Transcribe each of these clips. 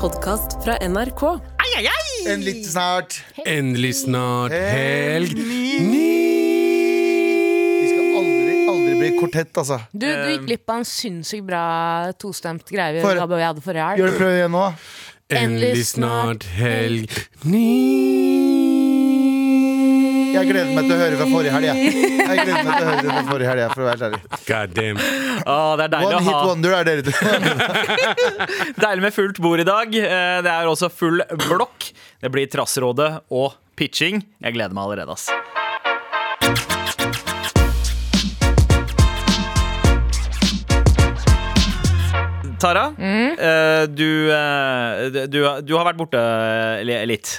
podkast fra NRK. Endelig snart. Endelig snart helg. Vi skal aldri, aldri bli kortett, altså. Du, du gikk glipp av en sinnssykt bra tostemt greie vi For- Gabbe og jeg hadde forrige Gjør helg. det prøv igjen nå. Endelig snart helg. Ni. Jeg gleder meg til å høre fra forrige helg. Jeg, jeg gleder meg til å høre det fra forrige helg, jeg, for å være helt ærlig. God damn. Å, det er deilig One å hit ha wonder er dere to. Deilig med fullt bord i dag. Eh, Det er også full blokk. Det blir Trasserådet og pitching. Jeg gleder meg allerede, ass. Tara, eh, du, eh, du, du har vært borte eh, li- litt.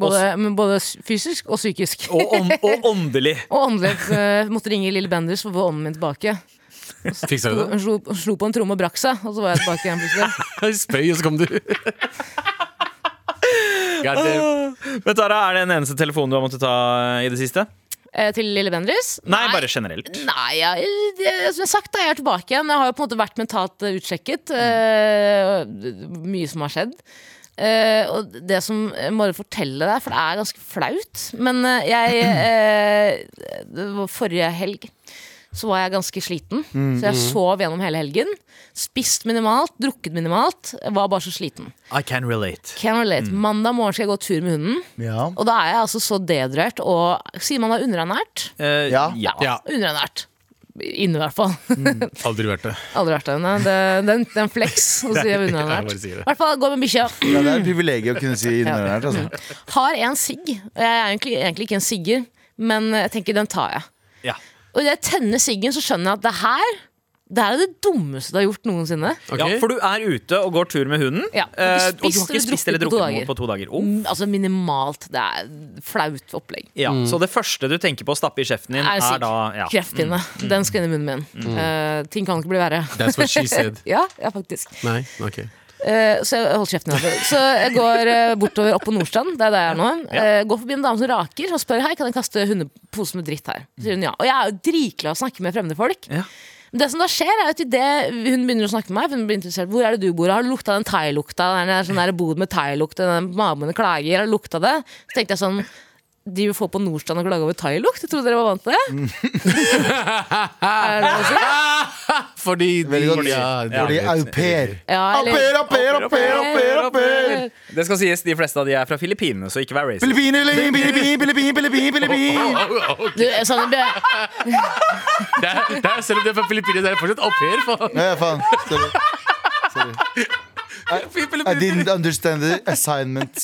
Både, men både s- fysisk og psykisk. Og, ånd- og åndelig. Og åndelig. eh, måtte ringe Lille Benders for å få ånden min tilbake. Fiksa du det? Hun slo, hun slo på en tromme og brakk seg, og så var jeg tilbake igjen plutselig. Jeg Spøy, og så kom du. God damn. Men Tara, er det den eneste telefonen du har måttet ta i det siste? Eh, til Lille Benders. Nei, bare generelt. Nei, jeg, jeg, som jeg har sagt, da, jeg er tilbake igjen. Jeg har jo på en måte vært mentalt eh, utsjekket. eh, mye som har skjedd. Eh, og det som jeg må fortelle deg, for det er ganske flaut Men eh, jeg eh, det var Forrige helg så var jeg ganske sliten. Så jeg sov gjennom hele helgen. Spist minimalt, drukket minimalt. Jeg var bare så sliten. I can relate. Can relate. Mandag morgen skal jeg gå tur med hunden, Ja. og da er jeg altså så dedrørt. Og sier man er underernært? Eh, Ja. ja. Ja, Underernært. Inne, i hvert fall. aldri vært det. Aldri vært der inne. Det, det, er en- det er en flex å si jeg er jeg bare underernært. sier I det. hvert fall gå med bikkja. Ja, det er et privilegium å kunne si innernært. Altså. Har en sigg. og Jeg er egentlig, egentlig ikke en sigger, men jeg tenker den tar jeg. Ja. Og idet jeg tenner siggen, så skjønner jeg at det her det her er det dummeste du har gjort noensinne. Ok? Ja, for du er ute og går tur med hunden. Ja, og du eh, spist og du har ikke eller spist eller drukket på drukket to noe på to dager. Oh. Mm, Altså minimalt. Det er flaut opplegg. Ja, Mm. Så det første du tenker på å stappe i kjeften din, Er er, sigg. da ja. Kreftpinne. Den skal inn i munnen min. Eh, ting kan ikke bli verre. That's what she said. Ja, ja faktisk. Nei, ok. Eh, Så jeg holder kjeften over. Så jeg går eh, bortover opp på Nordstrand, det er der jeg er nå. Eh, Går forbi en dame som raker og spør hei, kan jeg kaste hundeposen med dritt her. Så sier hun ja. Og jeg er jo dritglad i å snakke med fremmede folk. Ja. Men det som da skjer er at idet hun begynner å snakke med meg, for hun blir interessert, hvor er det du bor? Har du lukta den thailukta? Den der sånn der bod med thailukt, og den naboen klager, har du lukta det? Så tenkte jeg sånn Driver folk på Nordstrand og klager over thailukt? Jeg trodde dere var vant til Mm. det. er det noe å si? Fordi de Veldig godt. ja, de- Fordi au pair. Ja, Au eller- pair, au pair, au pair, au pair, au pair. Det skal sies, de fleste av de er fra Filippinene, så ikke vær racist. Filippiner, Filippiner, Filippiner, Filippiner, Filippiner. Du, sånn, det- Det er, det er, selv om de er fra Filippinene, det er fortsatt au pair. faen. Ja, ja, faen. Sorry. Sorry. I didn't understand the assignment.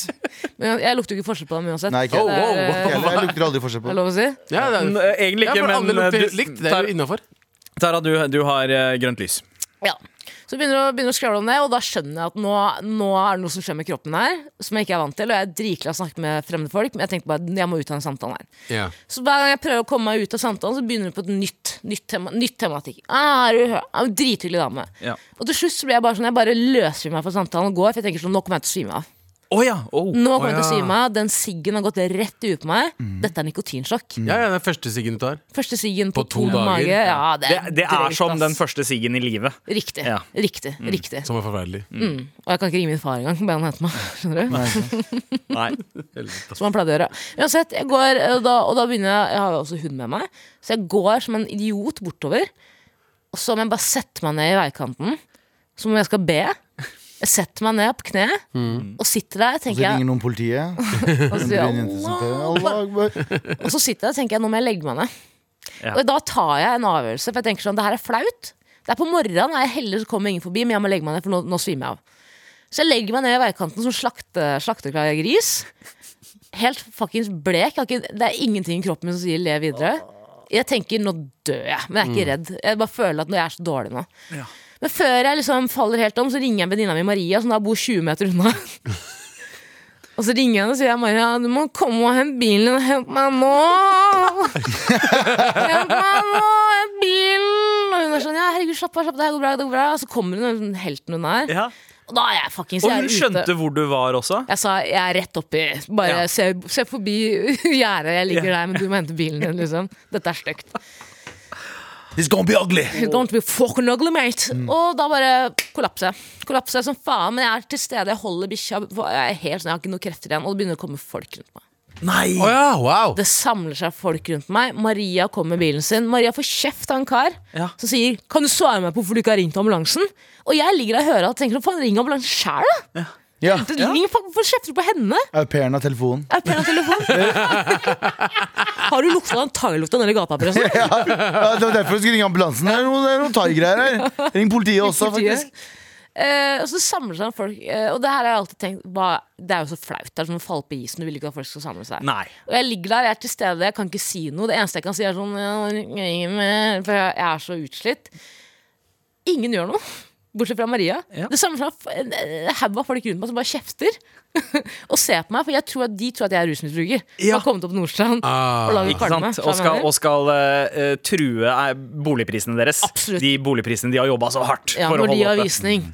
Men jeg- jeg lukter jo ikke forskjell på dem uansett. Nei, ikke Oh, jeg. wow, Ikke wow. heller. Jeg lukter aldri forskjell Er det på det. lov å si? Ja, det N- er, eh, Egentlig ja, ikke, for alle men eh, lukter du- likt. Det er jo innafor. Tara, du, du har eh, grønt lys. Ja. Så begynner jeg å, begynner å skravle om det, og da skjønner jeg at nå, nå er det noe som skjer med kroppen her, som jeg ikke er vant til. Og jeg er dritglad i å snakke med fremmede folk, men jeg tenkte bare jeg må ut av den samtalen her. Ja. Så hver gang jeg prøver å komme meg ut av samtalen, så begynner hun på et nytt, nytt, tema, nytt tematikk. Ah, er du hø- er du Drithyggelig dame. Ja. Og til slutt så blir jeg bare sånn, jeg bare løser meg fra samtalen og går, for jeg tenker sånn, nå kommer jeg til å svime av. Å ja! Mhm. Oh. Nå kommer Å, jeg til å ja. svime av, den siggen har gått rett i huet på meg. Dette er nikotinsjokk. Mm. ja, ja, den første siggen du tar. Første siggen på, På to tom dager. mage. Ja, det, Det, er det drøyt, er som ass. den første siggen i livet. Riktig, Ja. Mm. riktig, riktig. Som er forferdelig. Mm. Og jeg kan ikke ringe min far engang. Be han hente meg. Skjønner du? Nei. Som han pleide å gjøre. Uansett, jeg går, og da, og da begynner jeg Jeg har jo også hund med meg, så jeg går som en idiot bortover. Og så må jeg bare sette meg ned i veikanten, som om jeg skal be. Jeg setter meg ned på kne og sitter der. Så tenker ringer jeg noen politiet. Og så, Det sier blir jeg, en jente som «Allah». sier, «Allah Akbar». og så sitter jeg og tenker jeg, nå må jeg legge meg ned. Ja. Og da tar jeg en avgjørelse, for jeg tenker sånn, det her er flaut. Det er på morgenen, er jeg heldig så kommer ingen forbi, men jeg må legge meg ned, for nå, nå svimer jeg av. Så jeg legger meg ned i veikanten som slakte, slakteklar gris. Helt fuckings blek. Jeg har ikke, det er ingenting i kroppen min som sier lev videre. Jeg tenker nå dør jeg, men jeg er ikke redd. Jeg bare føler at nå- jeg er så dårlig nå. Men før jeg liksom faller helt om, så ringer jeg venninna mi Maria, som da bor 20 meter unna. Og så ringer jeg henne og sier Maria, du må komme og hente bilen din. Hent meg nå! Hent meg nå! Hent bilen! Og hun er sånn ja, herregud, slapp av, slapp av, det her går bra. det går bra Og så kommer hun den helten hun er. Ja. Og da er jeg fuckings Og jeg er hun skjønte hvor du var også. Jeg sa jeg er rett oppi. Bare Ja. se, se forbi gjerdet, jeg ligger der, men du må hente bilen din, liksom. Dette er stygt. This gonna be ugly! It's going to be fucking ugly, mate. Mm. Og da bare kollapser jeg. Kollapser jeg som faen, men jeg er til stede, jeg holder bikkja. Jeg er helt sånn, jeg har ikke noen krefter igjen, og det begynner å komme folk rundt meg. Nei! Å ja, wow. Det samler seg folk rundt meg. Maria kommer med bilen sin. Maria får kjeft av en kar Ja. som sier 'Kan du svare meg på hvorfor du ikke har ringt ambulansen?' Og jeg ligger der og hører og tenker 'Faen, ring ambulansen sjæl, da!' Ja. Det- ring- fa- Hvorfor kjefter du på henne? Au pairen av telefonen. Er det telefon? har du lukta den thailuta nede i gata? forresten? Ja, ja, det var derfor du skulle ringe ambulansen. Det er noen, det er noen thai-greier her. Ring politiet også, Politiet. faktisk. Eh, og så samler seg folk eh, Og det her har jeg alltid tenkt hva, Det er jo så flaut. Det er som å falle på isen. Du vil ikke at folk skal samle seg. Nei. Og jeg ligger der, jeg er til stede, jeg kan ikke si noe. Det eneste jeg kan si, er sånn «Ja, For jeg er så utslitt. Ingen gjør noe. Bortsett fra Maria. Ja. Det samme fra f- en en haug av folk rundt meg som bare kjefter. og ser på meg, for jeg tror at de tror at jeg er rusmisbruker. Ja. Har kommet opp Nordstrand Ah, og Ah. lager Ikke kvalme. skjønner sant? du hva Og jeg skal, mener? og skal eh, eh, true eh, boligprisene deres. Absolutt. De boligprisene de har jobba så hardt Ja, for å når de holde har oppe. visning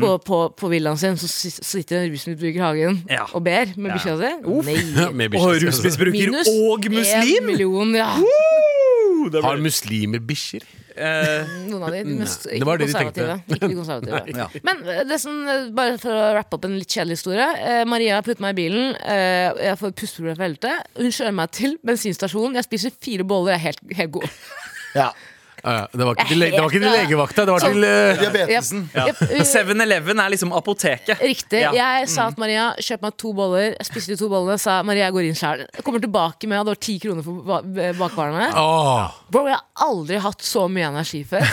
på, på, på villaen sin, så sit- så sitter en rusmisbruker i hagen Ja. og ber med bikkja si. Nei. Med bikkja Og si, altså. rusmisbruker Minus og en muslim! million, ja. Uh, det Har blir- muslimer bikkjer? eh, Noen av de, de mest, Nei, ikke det var de det de konservative. Ikke de konservative. Ja. Men eh, det som, eh, bare for å rappe opp en litt kjedelig historie. Eh, Maria putter meg i bilen. Eh, jeg får pusteproblemer fra helvete. Hun kjører meg til bensinstasjonen. Jeg spiser fire boller. Jeg er helt, helt god. Ja. Ja, det, var ikke til, le- det var ikke til legevakta, det var til eh, Diabetesen. Jep, jep, eh, 7-Eleven er liksom apoteket. Riktig. Ja. Jeg sa at Maria, kjøp meg to boller. Jeg spiste de to bollene, sa Maria, jeg går inn sjæl. Kommer tilbake med at det var ti kroner for ba- bakvarene. Åh, Bro, jeg har aldri hatt så mye energi før.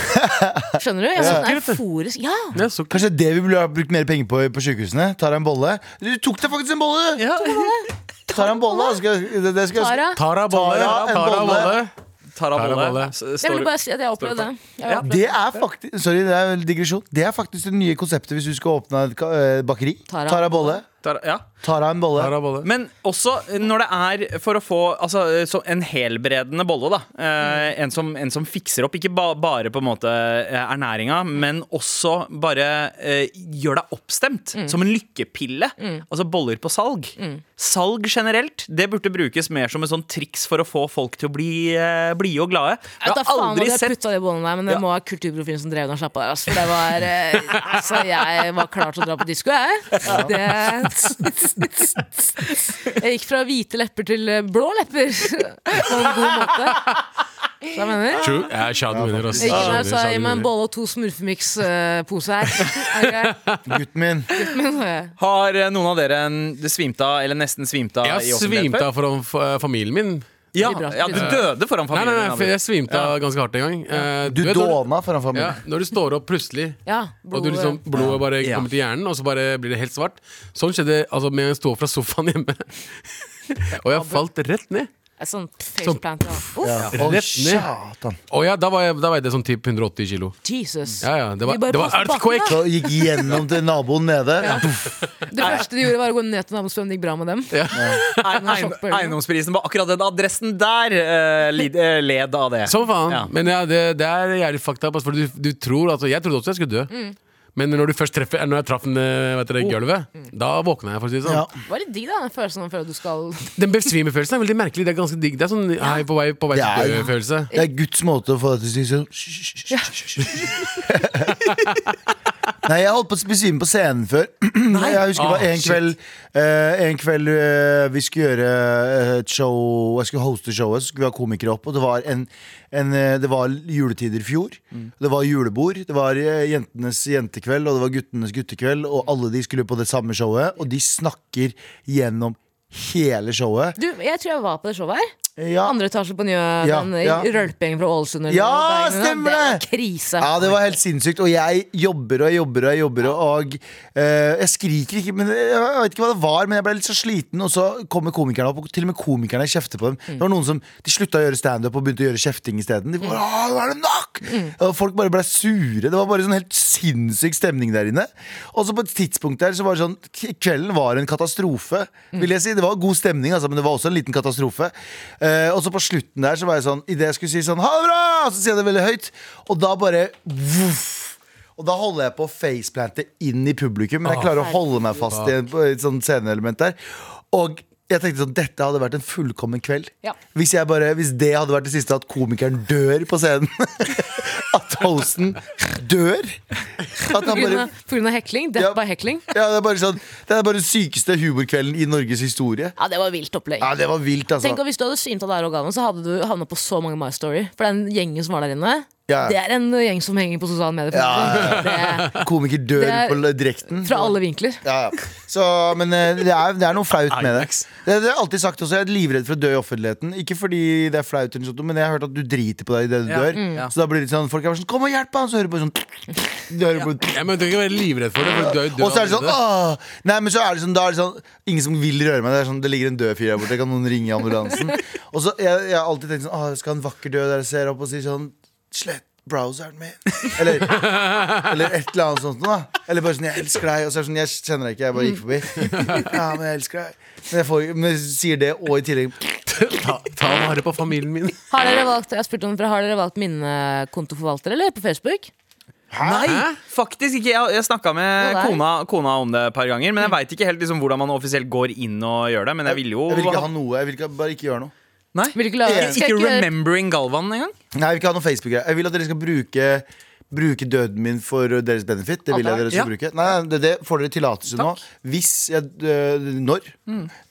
Skjønner du? Jeg er sånn euforisk. Ja! det er så kult. Kanskje det vi burde ha brukt mer penger på på sykehusene? Tar jeg en bolle? Du tok deg faktisk en bolle! du! Tar jeg en bolle? Skal, jeg- det, det skal, jeg- Tara. Tara Bolle. Tara, en Tara bolle. Bolle. Tara Tara Bolle. Bolle. s- Jeg Står, ville bare si at jeg opplevde det. Jeg Ja. opplevde det er faktisk Sorry, det er en digresjon. Det er faktisk det nye konseptet hvis du skal åpne et ka- eh, bakeri. Tara. Tara bolle. Tara, ja. Tara en bolle. Tara Bolle. Men også eh, når det er for å få altså, så en helbredende bolle, da. Eh, en, som, en som fikser opp ikke ba, bare på en måte eh, ernæringa, men også bare eh, gjør deg oppstemt. Mm. Som en lykkepille. Altså boller på salg. Salg generelt, det burde brukes mer som et sånt triks for å få folk til å bli eh, blide og glade. Jeg Jeg vet da har faen om aldri jeg sett putta de bollene der, men det Ja. må ha kulturprofilen som drev den og slappa der. Altså. For det var, eh, altså, jeg var klar til å dra på disko, jeg. Det... Jeg gikk fra hvite lepper til eh, blå lepper på en god måte. Så jeg mener True. Jeg er Shadu vinner, ass. jeg gikk inn der og sa Shadu vinner, gi Shadu meg en vinner. bolle og to smurfemix-poser her. Er det Gutten min. greit? Har eh, noen av dere en- det svimta, eller nesten svimta, Jeg har offentligheten svimt før? av foran f- eh, familien min. Ja, Vibrat- ja, du døde foran Nei, nei, familien nei, for jeg svimte av ganske hardt en gang. Eh, Du vet når- dåna foran Ja, familien. når du står opp plutselig, Ja, og du liksom, blodet. blodet bare Ja. kommer til hjernen, og så bare blir det helt svart. Sånn skjedde altså, med å stå opp fra sofaen hjemme. og jeg falt rett ned. Sånn face Sånn. plant. ja. Uff, Ja. Rett Å, ned. satan. Og ja, da, var jeg, da veide jeg sånn typ 180 kilo. Jesus. Ja, ja, det Vi var, bare det var passer på bakken, earthquake! da. Så gikk gjennom til naboen nede. Det første de gjorde, var å gå ned til naboen og spørre om det gikk bra med dem. Eiendom- Eiendomsprisen på akkurat den adressen der eh, lid, eh, led av det. Som faen. Ja. Men ja, det, det er jævlig fucked up. ass, For du, du tror, altså, jeg trodde også jeg skulle dø. Mm. Men når du først treffer Når jeg traff den, eh, vet dere, gulvet, da våkna jeg. for å si det sånn Oh. Mm. Ja. Det var litt digg, da, den følelsen man føler at du skal Den besvimefølelsen er veldig merkelig. Det er ganske digg. Det er sånn hei, på vei, på vei Det er til jo- dø-følelse. Det er Guds måte å få deg til å si sånn «Hysj, hysj, hysj, hysj». Nei, jeg holdt på å besvime på scenen før. jeg husker det var Ah, en shit. kveld, eh, en kveld eh, vi skulle gjøre eh, et show Jeg skulle hoste showet, så skulle vi ha komikere opp. Og det var, en, en, eh, det var juletider i fjor. Det var julebord. Det var eh, jentenes jentekveld, og det var guttenes guttekveld. Og alle de skulle på det samme showet, og de snakker gjennom hele showet. Du, jeg tror jeg var på det showet her. Ja, Andre etasje på Njø. Ja, den ja. rølpegjengen fra Ålesund. eller Ja, Bergen, da. stemmer var det! Krise. Ja, det var helt sinnssykt. Og jeg jobber og jeg jobber og jeg jobber. Og eh, jeg skriker ikke, men jeg, jeg vet ikke hva det var, men jeg ble litt så sliten. Og så kommer komikerne opp, og til og med komikerne kjefter på dem. Det var noen som, De slutta å gjøre standup og begynte å gjøre kjefting isteden. De bare, «Åh, nå er det nok! Og folk bare ble sure. Det var bare sånn helt sinnssyk stemning der inne. Og så på et tidspunkt der så var det sånn k- Kvelden var en katastrofe, vil jeg si. Det var god stemning, altså, men det var også en liten katastrofe. Eh, og så på slutten der så var jeg sånn Idet jeg skulle si sånn ha det bra, så sier jeg det veldig høyt. Og da bare voff. Og da holder jeg på å faceplante inn i publikum, men jeg klarer å holde meg fast i en, på et sånt sceneelement der. sånn Og Jeg tenkte sånn, Dette hadde vært en fullkommen kveld. Ja. Hvis, jeg bare, hvis det hadde vært det siste, at komikeren dør på scenen. At hosten dør. At han bare Pga. hekling? Death Ja. by hekling? ja, det, er bare sånn, det er bare den sykeste humorkvelden i Norges historie. Ja, det var vilt opplegg. Ja, Det var vilt, altså. Tenk at Hvis du hadde svimt av der organet, så hadde du havna på så mange My Story. For den gjengen som var der inne, Ja. det er en gjeng som henger på sosiale medier. Ja, ja, Det Komiker dør Det er- på l- direkten. er fra alle vinkler. Ja, ja. Så, men eh, det er, det er noe flaut med det. Imax. Det det har jeg alltid sagt også, Jeg er livredd for å dø i offentligheten. Ikke fordi det er flaut, eller noe sånt, men jeg har hørt at du driter på deg idet du Ja, dør. mm. Så da blir det sånn, folk er bare sånn 'Kom og hjelp han!' Så hører du på sånn du hører på, Ja, men Du trenger ikke være livredd for det. For du er jo død Og så er det sånn allerede. Åh! Nei, men så er det sånn, da er det sånn Ingen som vil røre meg. Det er sånn, det ligger en død fyr der borte. Kan noen ringe ambulansen? Og så, jeg, jeg har alltid tenkt sånn Åh, skal en vakker død der jeg ser opp og sier sånn Slett browseren min. Eller, eller et eller annet sånt noe. da. Eller bare sånn Jeg elsker deg. Og så er det sånn Jeg kjenner deg ikke, jeg bare gikk forbi. Ja, men jeg elsker deg. Men jeg, får, men jeg sier det, og i tillegg ta, ta vare på familien min. Har dere valgt, jeg har spurt om dere, har dere valgt minnekontoforvalter, eller? På Facebook? Nei, faktisk ikke. Jeg, jeg snakka med Nei. kona, kona om det et par ganger. Men jeg veit ikke helt liksom, hvordan man offisielt går inn og gjør det. Men jeg ville jo Jeg vil ikke ha noe. Jeg vil ikke, bare ikke gjøre noe. Nei? Vil ikke la- Ikke- skal jeg Ikke ikke- remembering Galvan engang? Nei, jeg vil ikke ha noe Facebook-greier. Jeg vil at dere skal bruke Bruke døden min for uh, deres benefit. Det vil jeg dere Ja. skal bruke Nei, nei, det, det får dere tillatelse nå. Hvis jeg øh, Når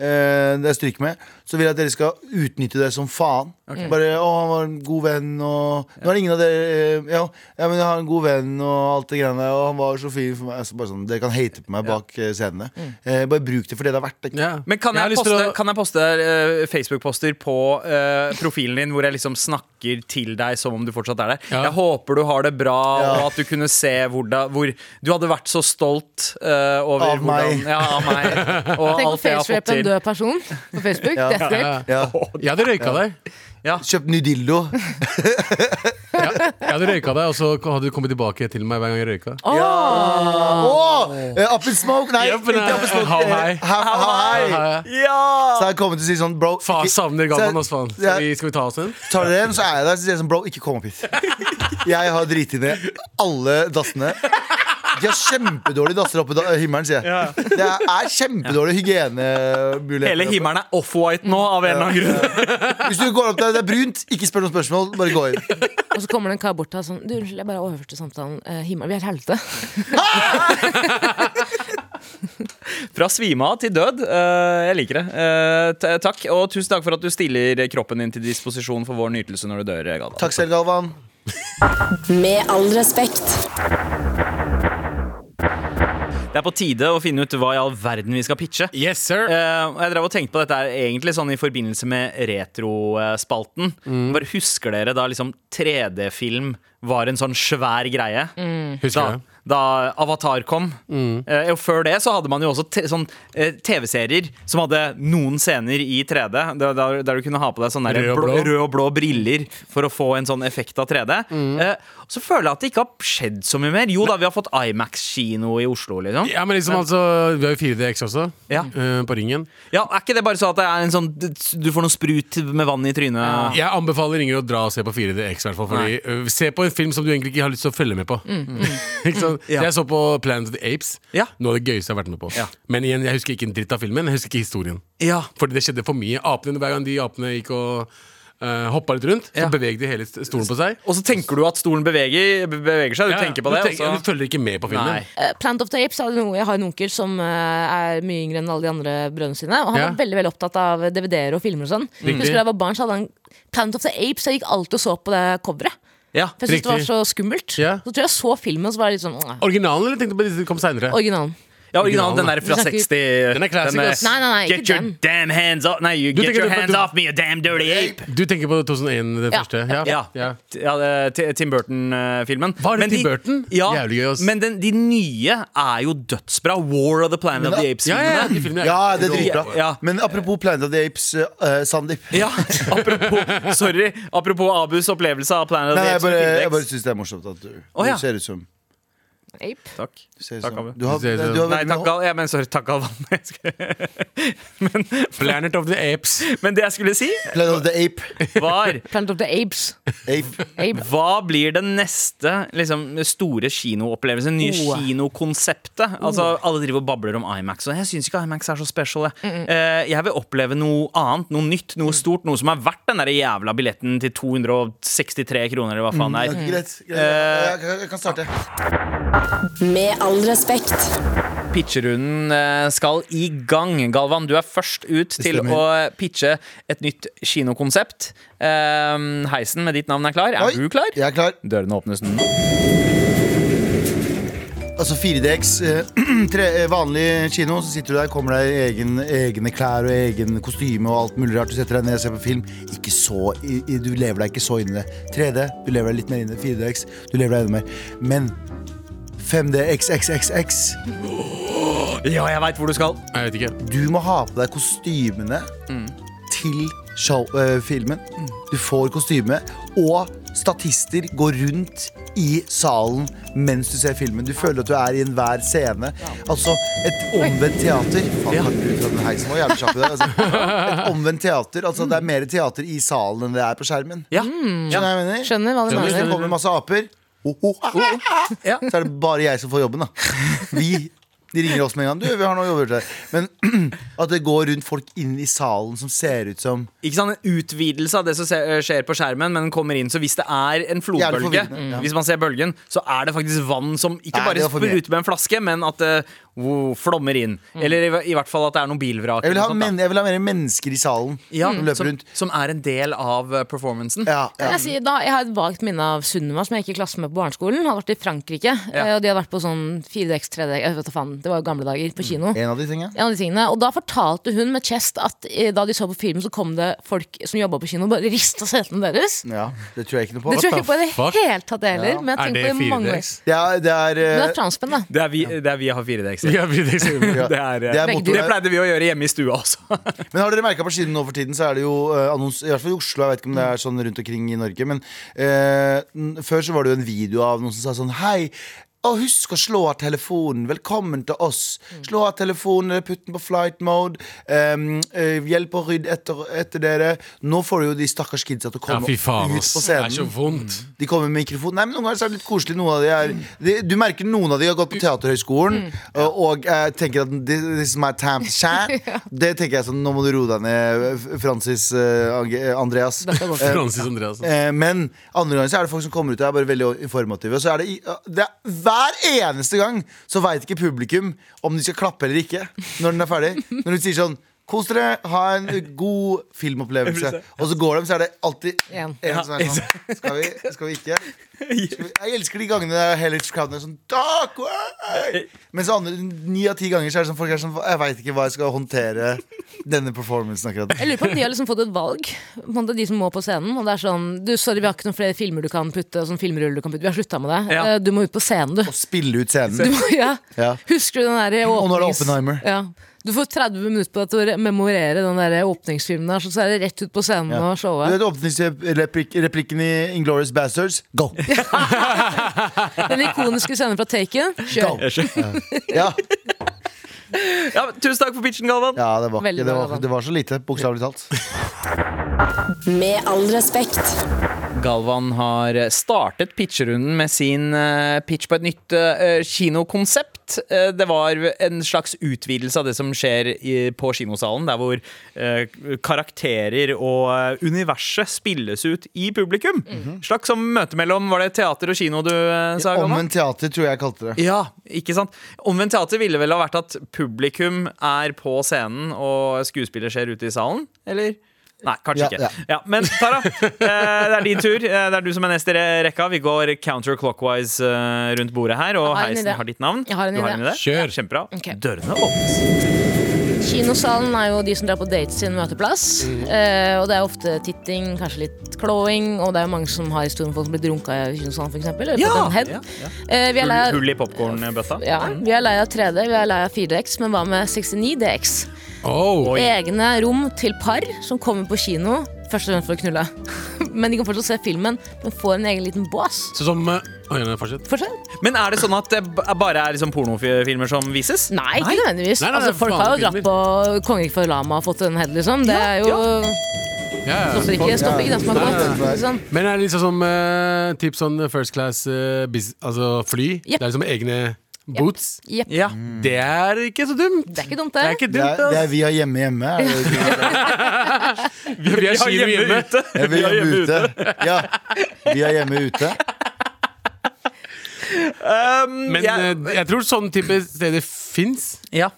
eh, det er stryk med, så vil jeg at dere skal utnytte det som faen. Bare 'Å, han var en god venn', og Nå er det ingen av dere eh, ja, ja, men 'Jeg har en god venn', og alt det greiene der, og 'han var så fin for meg'. Altså, bare sånn, dere kan hate på meg bak eh, scenene. Eh, bare bruk det for det det er verdt. det. Ja. Men kan har jeg, lyst til poste, å- kan jeg poste eh, Facebook-poster på eh, profilen din hvor jeg liksom snakker til deg som om du fortsatt er der? Ja. Jeg håper du har det bra, Ja. og at du kunne se hvor, da, hvor Du hadde vært så stolt eh, over Av meg. hvordan, Ja, av meg. Og Tenk å alt jeg har fått facerape en til. død person på Facebook. Ja. Death rape. Ja. Ja. Jeg hadde røyka deg. Kjøp ny dildo. Ja. Jeg hadde røyka deg, og så hadde du kommet tilbake til meg hver gang jeg røyka. Åh, Åh, eh, up in smoke! Nei, Yep, ikke up in smoke. how eh, high. How, how high. Ja. Ja! Så jeg kommer til å si sånn, bro Faen, ikke- savner Så jeg- Galvan oss, faen. Ja. Skal vi, skal vi ta oss en? Tar dere en, så er jeg der Så sier jeg sånn, bro, ikke kom opp hit Jeg har driti ned alle dassene De har kjempedårlige dasser oppe i da- himmelen, sier jeg Det er, er kjempedårlig hygienemuligheter Hele der oppe. himmelen er off-white nå, av en eller annen grunn. Hvis du går opp der, det er brunt, ikke spør noen spørsmål Bare gå inn Og så kommer det en kar bort og er sånn Du, unnskyld, jeg bare overhørte samtalen. Eh, himmel, vi er et helvete. Fra svime av til død. Eh, jeg liker det. Eh, t takk, og tusen takk for at du stiller kroppen din til disposisjon for vår nytelse når du dør, Galvan. Takk selv, Galvan Med all respekt. Det er på tide å finne ut hva i all verden vi skal pitche. Yes, sir. Eh, og jeg drev og tenkte på dette her egentlig sånn i forbindelse med retrospalten. Mm. Bare husker dere da liksom 3D-film var en sånn svær greie? Eh, Da, Mm. Husker Mm. jeg. da Avatar kom. Eh, og før det så hadde man jo også te sånn eh, TV-serier som hadde noen scener i 3D. Der, der, der du kunne ha på deg sånne Rød rød og og, blå. blå. rød og blå briller for å få en sånn effekt av 3D. Mm. Eh, så føler jeg at det ikke har skjedd så mye mer. Jo da, vi har fått Imax-kino i Oslo, liksom. Ja, men liksom altså Vi har jo 4DX også, Ja. eh, på Ringen. Ja, Er ikke det bare sånn at det er en sånn du får noe sprut med vann i trynet? Jeg anbefaler ingen å dra og se på 4DX, i hvert fall. Fordi, eh, se på en film som du egentlig ikke har lyst til å følge med på. ikke sant? Mm. Ja. Jeg så på Planet of the Apes. Ja. Noe av det gøyeste jeg har vært med på. Ja. Men igjen, jeg husker ikke en dritt av filmen. Jeg husker ikke historien. Ja. Fordi det skjedde for mye. Apene, hver gang de apene gikk og uh, hoppa litt rundt, så Ja. bevegde de hele st- stolen på seg. Og så tenker du at stolen beveger, be- beveger seg. Du Ja, ja. tenker på det. Du, tenker, og du så... følger ikke med på Nei. filmen. Eh, Plant of the Apes, hadde noe- jeg har en onkel som eh, er mye yngre enn alle de andre brødrene sine. Og han Ja. var veldig veldig opptatt av DVD-er og filmer og sånn. Husker da jeg var barn, så hadde han Plant of the Apes. Jeg gikk alltid og så på det coveret. Ja. For jeg syntes det var Riktig. så skummelt. Ja. Så tror jeg jeg så filmen, og så var jeg litt sånn «Åh, Originalen, eller tenkte du på de som kom seinere? Originalen. ja, originalen, den der fra Vi snakker- 60 Den er classic, ass. Nei, nei, nei, ikke Get your den. damn hands off Nei, you Du get tenker your du- hands du- off me, you damn dirty ape! Du tenker på 2001, den Ja. første? Ja. ja. T- ja det- Ti- Tim Burton-filmen. Var det Tim Burton? Ja, Jævlig gøy, ass. Men den, de nye er jo dødsbra. War of the Planet of the Ja, ja, ja, Apes-filmene. de filmene Ja, det er dritbra Ja. Men apropos Planet of the Apes, eh, Sandeep Ja, apropos, sorry, apropos Abus opplevelse av Planet of Nei, the jeg Apes. bare, med jeg bare T-Rex. synes det er morsomt at du, Å, ja. du ser ut som Ape. Takk. Du ser ut Takk, som- Abu. Du har, Du ser ut som- du har Nei, veldig takk, mye hår. Gal. Ja, men sorry, takk, Galvan. Jeg skulle- Planet of the Apes. Men det jeg skulle si, Planet of the ape. var Planet of the Apes. ape. Ape. hva blir den neste liksom, store kinoopplevelsen? Nye Oh. kinokonseptet? Altså, alle driver og babler om Imax, og jeg syns ikke Imax er så special. Jeg. Eh, jeg vil oppleve noe annet, noe nytt, noe stort. Noe som er verdt den der jævla billetten til 263 kroner, eller hva faen det er. Greit. greit. Jeg, jeg, jeg kan starte. Med all respekt. Pitcherunden eh, skal i gang. Galvan, du er først ut til å eh, stemmer. pitche et nytt kinokonsept. Ehm, Heisen med ditt navn er klar. Er Oi, du klar? Jeg er klar. Dørene åpnes nå. Altså 4DX, eh, tre, eh, vanlig kino, så sitter du der, kommer deg i egen, egne klær og egen kostyme og alt mulig rart. Du setter deg ned og ser på film. Ikke så, i, i, du lever deg ikke så inn i det. 3D, du lever deg litt mer inn i det. 4DX, du lever deg enda mer. Men 5DXXXX, Ja, jeg veit hvor du skal. Jeg vet ikke. du må ha på deg kostymene til show, eh, filmen. Du får kostyme, og statister går rundt i salen mens du ser filmen. Du føler at du er i enhver scene. Altså et omvendt teater. Faen, takk Gud for at den heisen var jævlig kjapp i dag. Altså. Et omvendt teater. Altså, det er mer teater i salen enn det er på skjermen. Ja. Skjønner du hva jeg mener? Skjønner hva du Hvis mener. det kommer masse aper, ho, ho, ho, ho, Ja. så er det bare jeg som får jobben. da Vi de ringer oss med en gang. Du, vi har noe å jobbe til deg. Men at det går rundt folk inn i salen som ser ut som Ikke sant, En utvidelse av det som se- eh, skjer på skjermen, men den kommer inn. Så hvis det er en Jævlig flodbølge, forvirrende, ja. hvis man ser bølgen, så er det faktisk vann som ikke Nei, bare det var for mye. spruter med en flaske, men at det wow, flommer inn. Eller i, i hvert fall at det er noen bilvrak. Mm. Jeg vil ha, Sånn, eller noe sånt, da. men, jeg vil ha mer mennesker i salen ja, som løper som, rundt. som er en del av eh, performancen. Ja, ja. Jeg, sier, da, jeg har et vagt minne av Sunniva, som jeg gikk i klasse med på barneskolen. Hadde vært i Frankrike, Ja. eh, og de hadde vært på sånn 4DX, 3D, jeg vet da faen, det var jo gamle dager, på kino. En av de tingene. En av de tingene, og da fortalte hun med Chest at eh, da de så på filmen, så kom det folk som jobba på kino og bare rista setene deres. Ja, det tror jeg ikke noe på. Det tror jeg the ikke på i det fuck? hele tatt heller. Men jeg Er tenker det på det i mange 4DX? år. Det er, det er, Men det eh, er transpenn, da. Det er vi, det er vi har 4DX. Ja, vi- det ser vi. ja. Det, er, eh, det er Begge motor- det pleide vi å gjøre hjemme i stua også. Men har dere merka på siden nå for tiden, så er det jo eh, annons, I hvert fall i Oslo, jeg vet ikke om det er sånn rundt omkring i Norge, men eh, n- før så var det jo en video av noen som sa sånn Hei. Og husk å slå av telefonen. Velkommen til oss. Slå av telefonen, eller putt den på flight mode. Em, eh, hjelp å rydde etter, etter dere. Nå får du jo de stakkars kidsa til å Ja, komme fy faen, ut ass. på Det er så scenen. vondt. De kommer med mikrofon. Nei, men Noen ganger så er det litt koselig. Noen av de er, de, du merker noen av de har gått på Teaterhøgskolen og, og eh, tenker at this, this is my time to shine. Det tenker jeg sånn, nå må du roe deg ned, F- Francis eh, Ange- Andreas. Francis Andreassen. Eh, men andre ganger så er det folk som kommer ut og er bare veldig informative. Og så er det, i- det er, Hver eneste gang så veit ikke publikum om de skal klappe eller ikke når den er ferdig. Når du sier sånn Kos dere, ha en god filmopplevelse. Og så går de, så er det alltid en En. som er sånn Skal vi, skal vi ikke? Skal vi? Jeg elsker de gangene det er Hellish Crowden er sånn Takk! oi!» Mens andre ni av ti ganger så er det sånn folk er sånn Jeg veit ikke hva jeg skal håndtere denne performancen akkurat nå. Jeg lurer på om de har liksom fått et valg, på en måte, de som må på scenen. Og det er sånn Du, sorry, vi har ikke noen flere filmer du kan putte, sånn filmruller du kan putte. Vi har slutta med det. Ja. Eh, Du må ut på scenen, du. Å spille ut scenen. Du må, ja. Ja. Husker du den der åpnings... nå er det Oppenheimer. Ja. Du får 30 minutter på deg til å re- memorere den der åpningsfilmen der, så så er det rett ut på scenen Ja. og Du showet. vet åpningsreplikken i Inglorious Bastards? Go! Den ikoniske scenen fra Taken. Go! Kjør. Ja, Ja, men tusen takk for pitchen, Galvan. ja det, var, Veldig ikke- bra, det, var, Galvan. det var så lite, bokstavelig talt. Med all respekt. Galvan har startet pitcherunden med sin eh, pitch på et nytt eh, kinokonsept. Eh, Det var en slags utvidelse av det som skjer i, på kinosalen, der hvor eh, karakterer og eh, universet spilles ut i publikum. Slags som møte mellom Var det teater og kino du eh, sa, Galvan? Mhm. Omvendt teater, tror jeg kalte det. Ja, ikke sant? Omvendt teater ville vel ha vært at publikum er på scenen, og skuespiller skjer ute i salen, eller? Nei, kanskje Ja, ikke. ja. Ja. men Tara, eh, det er din tur. Eh, Det er du som er neste i rekka. Vi går counterclockwise eh, rundt bordet her, og Jeg har en heisen idé. har ditt navn. Jeg har en du har idé. en idé? Kjør. Kjempebra. Ok. Dørene åpnes. Kinosalen er jo de som drar på dates sin møteplass. Eh, og det er ofte titting, kanskje litt klåing, og det er jo mange som har historien om folk som blir drunka i kinosalen, for eksempel. Eller fått en head. Ja, ja. Eh, vi er lei Hull, av hull i popkornbøtta. ja, vi er lei av 3D, vi er lei av 4DX, men hva med 69DX? Oh, Oi. Egne rom til par som kommer på kino først og fremst for å knulle. men de kan fortsatt se filmen, men får en egen liten bås. Så som eh, Oi, nei, fortsett. Fortsatt? Men er det sånn at det b- bare er liksom pornofilmer som vises? Nei, ikke nødvendigvis. Nei, nei, nei, altså, folk har jo dratt vanlige på Kongerik for lama og fått en head, liksom. Det er jo Ja, ja. stopper ikke, stopper ikke den som har Nei, gått. nei, nei. Liksom. Men er det liksom som eh, typ sånn first class eh, bus- altså fly? Jepp. Det er liksom egne boots. Jepp. Ja. Det er ikke så dumt. Det er ikke dumt, Det det. er ikke Det er, dumt, det ass. er vi har hjemme hjemme. Er det ikke? Vi har kino hjemme. ute. Jeg vil Vi har hjemme ute. Ja, vi er hjemme ute. Um, Men jeg, eh, jeg tror sånne type steder fins. ja.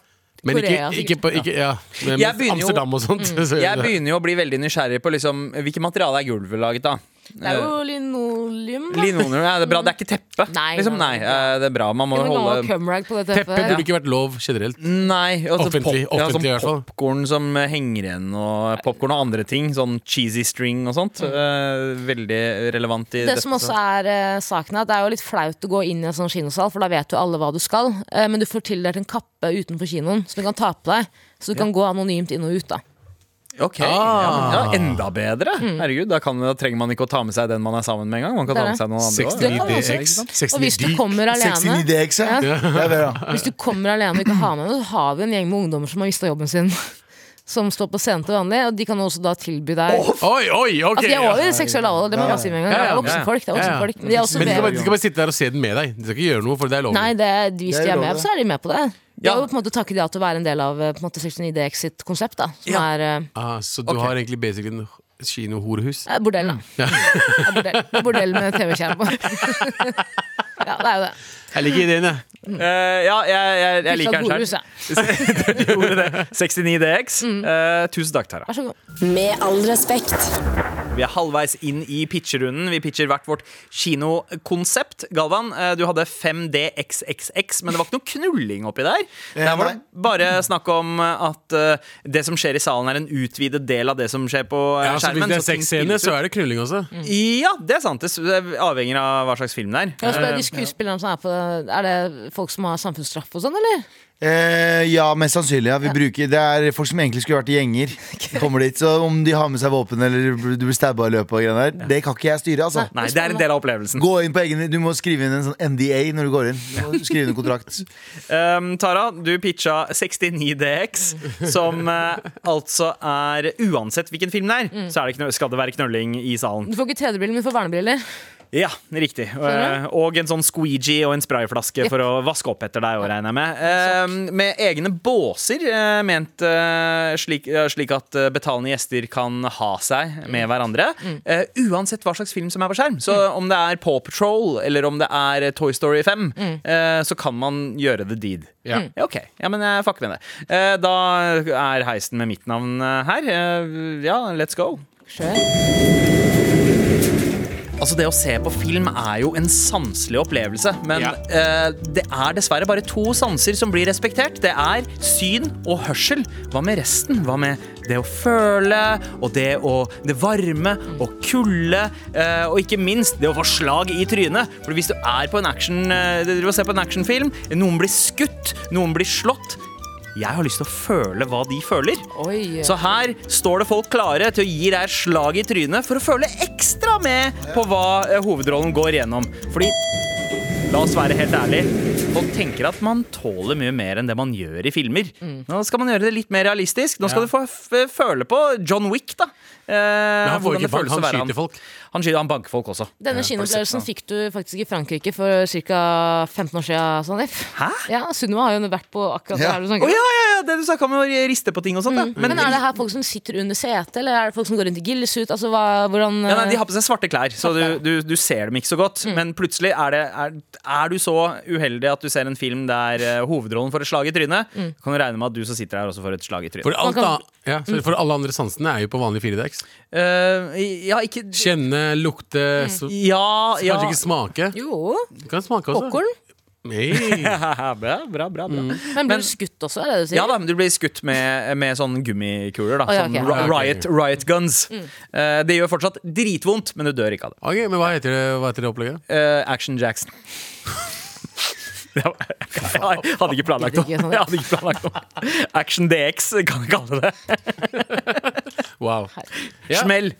Men ikke, Korea, Mm. ikke på ikke, ja. Men, Jeg begynner jo- Amsterdam og sånt. så gjør jeg det. begynner jo å bli veldig nysgjerrig på liksom, hvilket materiale er gulvet laget av. Det er jo linoleum. da. Linoleum, ja, det er bra. Det er ikke teppe. Nei, liksom, nei, nei, nei. eh, det er bra. Man må Det er noe gammel holde cumrag på det Teppe teppet. burde ikke vært lov generelt. Nei. Altså, Offentlig- pop, ja, offentlig i hvert fall. sånn popkorn som eh, henger igjen, og popkorn og andre ting. Sånn cheesy string og sånt. eh, veldig relevant i Mm. Det som også er eh, saken er at det er jo litt flaut å gå inn i en sånn kinosal, for da vet jo alle hva du skal. Eh, men du får tildelt en kappe utenfor kinoen som du kan ta på deg. Så du kan gå anonymt inn og ut. da Ok, ja, Ah. men- ja, Enda bedre! Herregud, da, kan, da trenger man ikke å ta med seg den man er sammen med engang. Man kan Mm. Det er ta det. med seg noen andre også. 69 Det kan man også, DX. Og hvis du 69 kommer alene 69 DX, ja. Det er bra. Hvis du kommer alene og ikke har med noe, så har vi en gjeng med ungdommer som har mista jobben sin. Som står på scenen til vanlig, og de kan også da tilby deg Oi, oi, ok! Altså, de er ja. over i seksuell alder, det må jeg bare si med en gang. Ja, ja, Det ja. er voksenfolk. Det er Ja, ja. voksenfolk. Men de er også Men de skal, bare, med. de skal bare sitte der og se den med deg. De skal ikke gjøre noe, for det er lov. Nei, det, er- hvis Det er de er lov, med, det. så er de med på det. Det Ja. er jo på en måte takket ja til å være en del av eh, på en måte, 69 DX sitt konsept, da. Som Ja. er eh, Ah, så du Ok. har egentlig basically et kinohorehus? Det er bordell, da. Det er bordell. bordell med TV-skjerm på. ja, det er jo det. Jeg liker ideen, jeg. Eh, ja, jeg, jeg, jeg liker den Horehus, selv. ja. Mm. du gjorde det. 69DX. Eh, tusen takk, Tara. Vær så god. Med all respekt. Vi er halvveis inn i pitcherunden. Vi pitcher hvert vårt kinokonsept. Galvan, eh, du hadde 5DXXX, men det var ikke noe knulling oppi der. Der var det bare snakk om eh, at eh, det som skjer i salen, er en utvidet del av det som skjer på eh, Ja, så hvis skjermen. det er ting sexscene, spilles så ut. er det knulling også. Mm. Ja, det er sant. Det s- det avhenger av hva slags film det Kan er. jeg spørre de skuespillerne som er på Er det folk som har samfunnsstraff og sånn, eller? Eh, ja, mest sannsynlig. Ja. Vi bruker, det er folk som egentlig skulle vært i gjenger. Kommer dit, så Om de har med seg våpen eller du blir stabba i løpet, av greiene der, det kan ikke jeg styre. altså Eh, Nei, det er en del av opplevelsen. Gå inn på egen, Du må skrive inn en sånn NDA når du går inn. Du må skrive inn en kontrakt Um, Tara, du pitcha 69DX, som eh, altså er Uansett hvilken film det er, så er det knø- skal det være knølling i salen. Du får ikke 3D-briller, men du får vernebriller. Ja, riktig. Skjønner Eh, og en sånn squeegee og en sprayflaske for å vaske opp etter deg, og regner jeg med. Eh, med egne båser, eh, ment eh, slik, eh, slik at eh, betalende gjester kan ha seg med hverandre. Eh, uansett hva slags film som er på skjerm. Så om det er Paw Patrol eller om det er eh, Toy Story 5, eh, så kan man gjøre the deed. Ja. Mm. Ja, ok. Ja, men jeg fucker med det. Eh, da er heisen med mitt navn eh, her. Eh, ja, let's go. Skjønner. Altså Det å se på film er jo en sanselig opplevelse, men Ja. eh, det er dessverre bare to sanser som blir respektert. Det er syn og hørsel. Hva med resten? Hva med det å føle, og det, å, det varme, og kulde, eh, og ikke minst det å få slag i trynet? For hvis du er på en action, eh, du driver og ser på en actionfilm, noen blir skutt, noen blir slått. Jeg har lyst til å føle hva de føler. Oi. Så her står det folk klare til å gi deg et slag i trynet for å føle ekstra med på hva eh, hovedrollen går gjennom. Fordi, la oss være helt ærlig, folk tenker at man tåler mye mer enn det man gjør i filmer. Mm. Nå skal man gjøre det litt mer realistisk. Nå skal du få f eh, føle på John Wick, da. Eh, Men han får hvordan det ikke bank, føles å han være skyter folk. Han skyter, han banker folk også. Denne kinoopplevelsen fikk du faktisk i Frankrike for ca. 15 år siden, Sanif. Hæ? Ja, Sunniva har jo vært på akkurat det Ja. her du Å snakker om. ja, ja, ja, det du snakka om å riste på ting og sånt. Mm. da. Men, er det her folk som sitter under setet, eller er det folk som går rundt i gillesuit? Altså, hva, hvordan Ja, nei, de har på seg svarte klær, så du, du, du ser dem ikke så godt. Mm. Men plutselig er, det, er, er du så uheldig at du ser en film der eh, hovedrollen får et slag i trynet, Mm. kan du regne med at du som sitter her, også får et slag i For, trynet. alt kan- Mm. an- ja, så for alle andre sansene er jo på vanlig 4DX. Eh, ja, ikke Kjenne, lukte, Mm. så, Ja, ja. kanskje ikke smake. Jo, Du kan smake også. popkorn. Nei. bra, bra, bra, bra. Men blir du skutt også, er det det du sier? Mm. Ja da, men du blir skutt med, med sånn gummikuler, da. Å, ja, sånn ok. Mm. ri- Ja, ok. riot, riot guns. Eh, det gjør fortsatt dritvondt, men du dør ikke av det. Ok, men hva heter det, hva heter det opplegget? Eh, Action Jackson. Jeg hadde ikke planlagt det. Jeg hadde ikke planlagt det. Action DX, kan vi kalle det. Wow. Ja. Smell.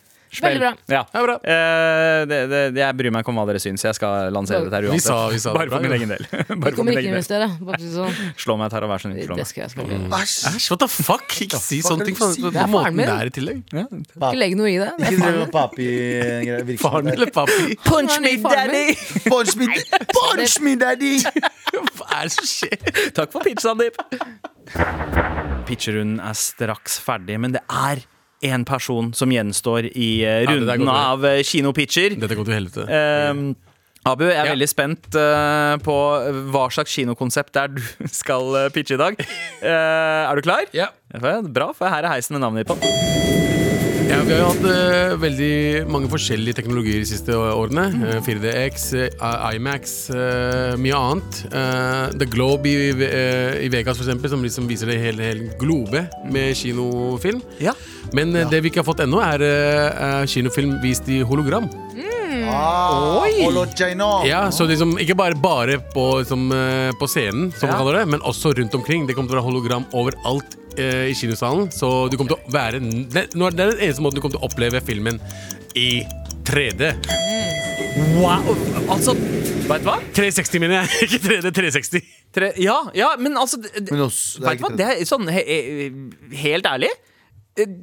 Veldig Smell. bra. Ja. Ja, bra. Eh, det, det, jeg bryr meg ikke om hva dere syns. Jeg skal lansere dette her Vi uansett. sa, vi sa det Bare bra, for min ja. egen del. Bare Jeg for kommer ikke til å min egen del. investere. Bare for å si det sånn. Slå meg et her og vær så snill. Slå Det meg. skal jeg skal Mm. ikke. Æsj! Æsj, what the fuck? Ikke si Hva sånne kan ting du på si? på Det er faren måten min. det er i tillegg. Ja. Ikke legge noe i det. Ikke driv med papi-virksomhet. Faren eller papi? Punch me, daddy! Punch me, punch me daddy! Hva er det som skjer? Takk for pitch, Sandeep. Pitcherunden er straks ferdig, men det er én person som gjenstår i eh, Ja, det der går runden bra. av eh, kinopitcher. Dette går til helvete. Ehm, Abu, jeg er Ja. veldig spent eh, på hva slags kinokonsept det er du skal eh, pitche i dag. Eh, er du klar? Ja. Bra, for her er heisen med navnet ditt på. Ja, vi har jo hatt eh, veldig mange forskjellige teknologier de siste å- årene. Mhm. Eh, 4DX, eh, Imax, eh, mye annet. Eh, The Globe i, i, eh, i Vegas, for eksempel, som liksom viser det hele, hele globe med kinofilm. Mhm. Ja. Men eh, det vi ikke har fått ennå, er eh, eh, kinofilm vist i hologram. Ah, Olochaino. Ja, så liksom, Ikke bare, bare på, liksom, eh, på scenen, som Ja. man kaller det, men også rundt omkring. Det kommer til å være hologram overalt eh, i kinosalen. Så du kommer til å være det, nå er det den eneste måten du kommer til å oppleve filmen i 3D. Wow, altså Vet du hva? 360 mener jeg, ikke 3D. 360. Tre, ja, ja, men altså d- d- Men oss, Vet det er du hva, ikke det er sånn he, he, Helt ærlig eh,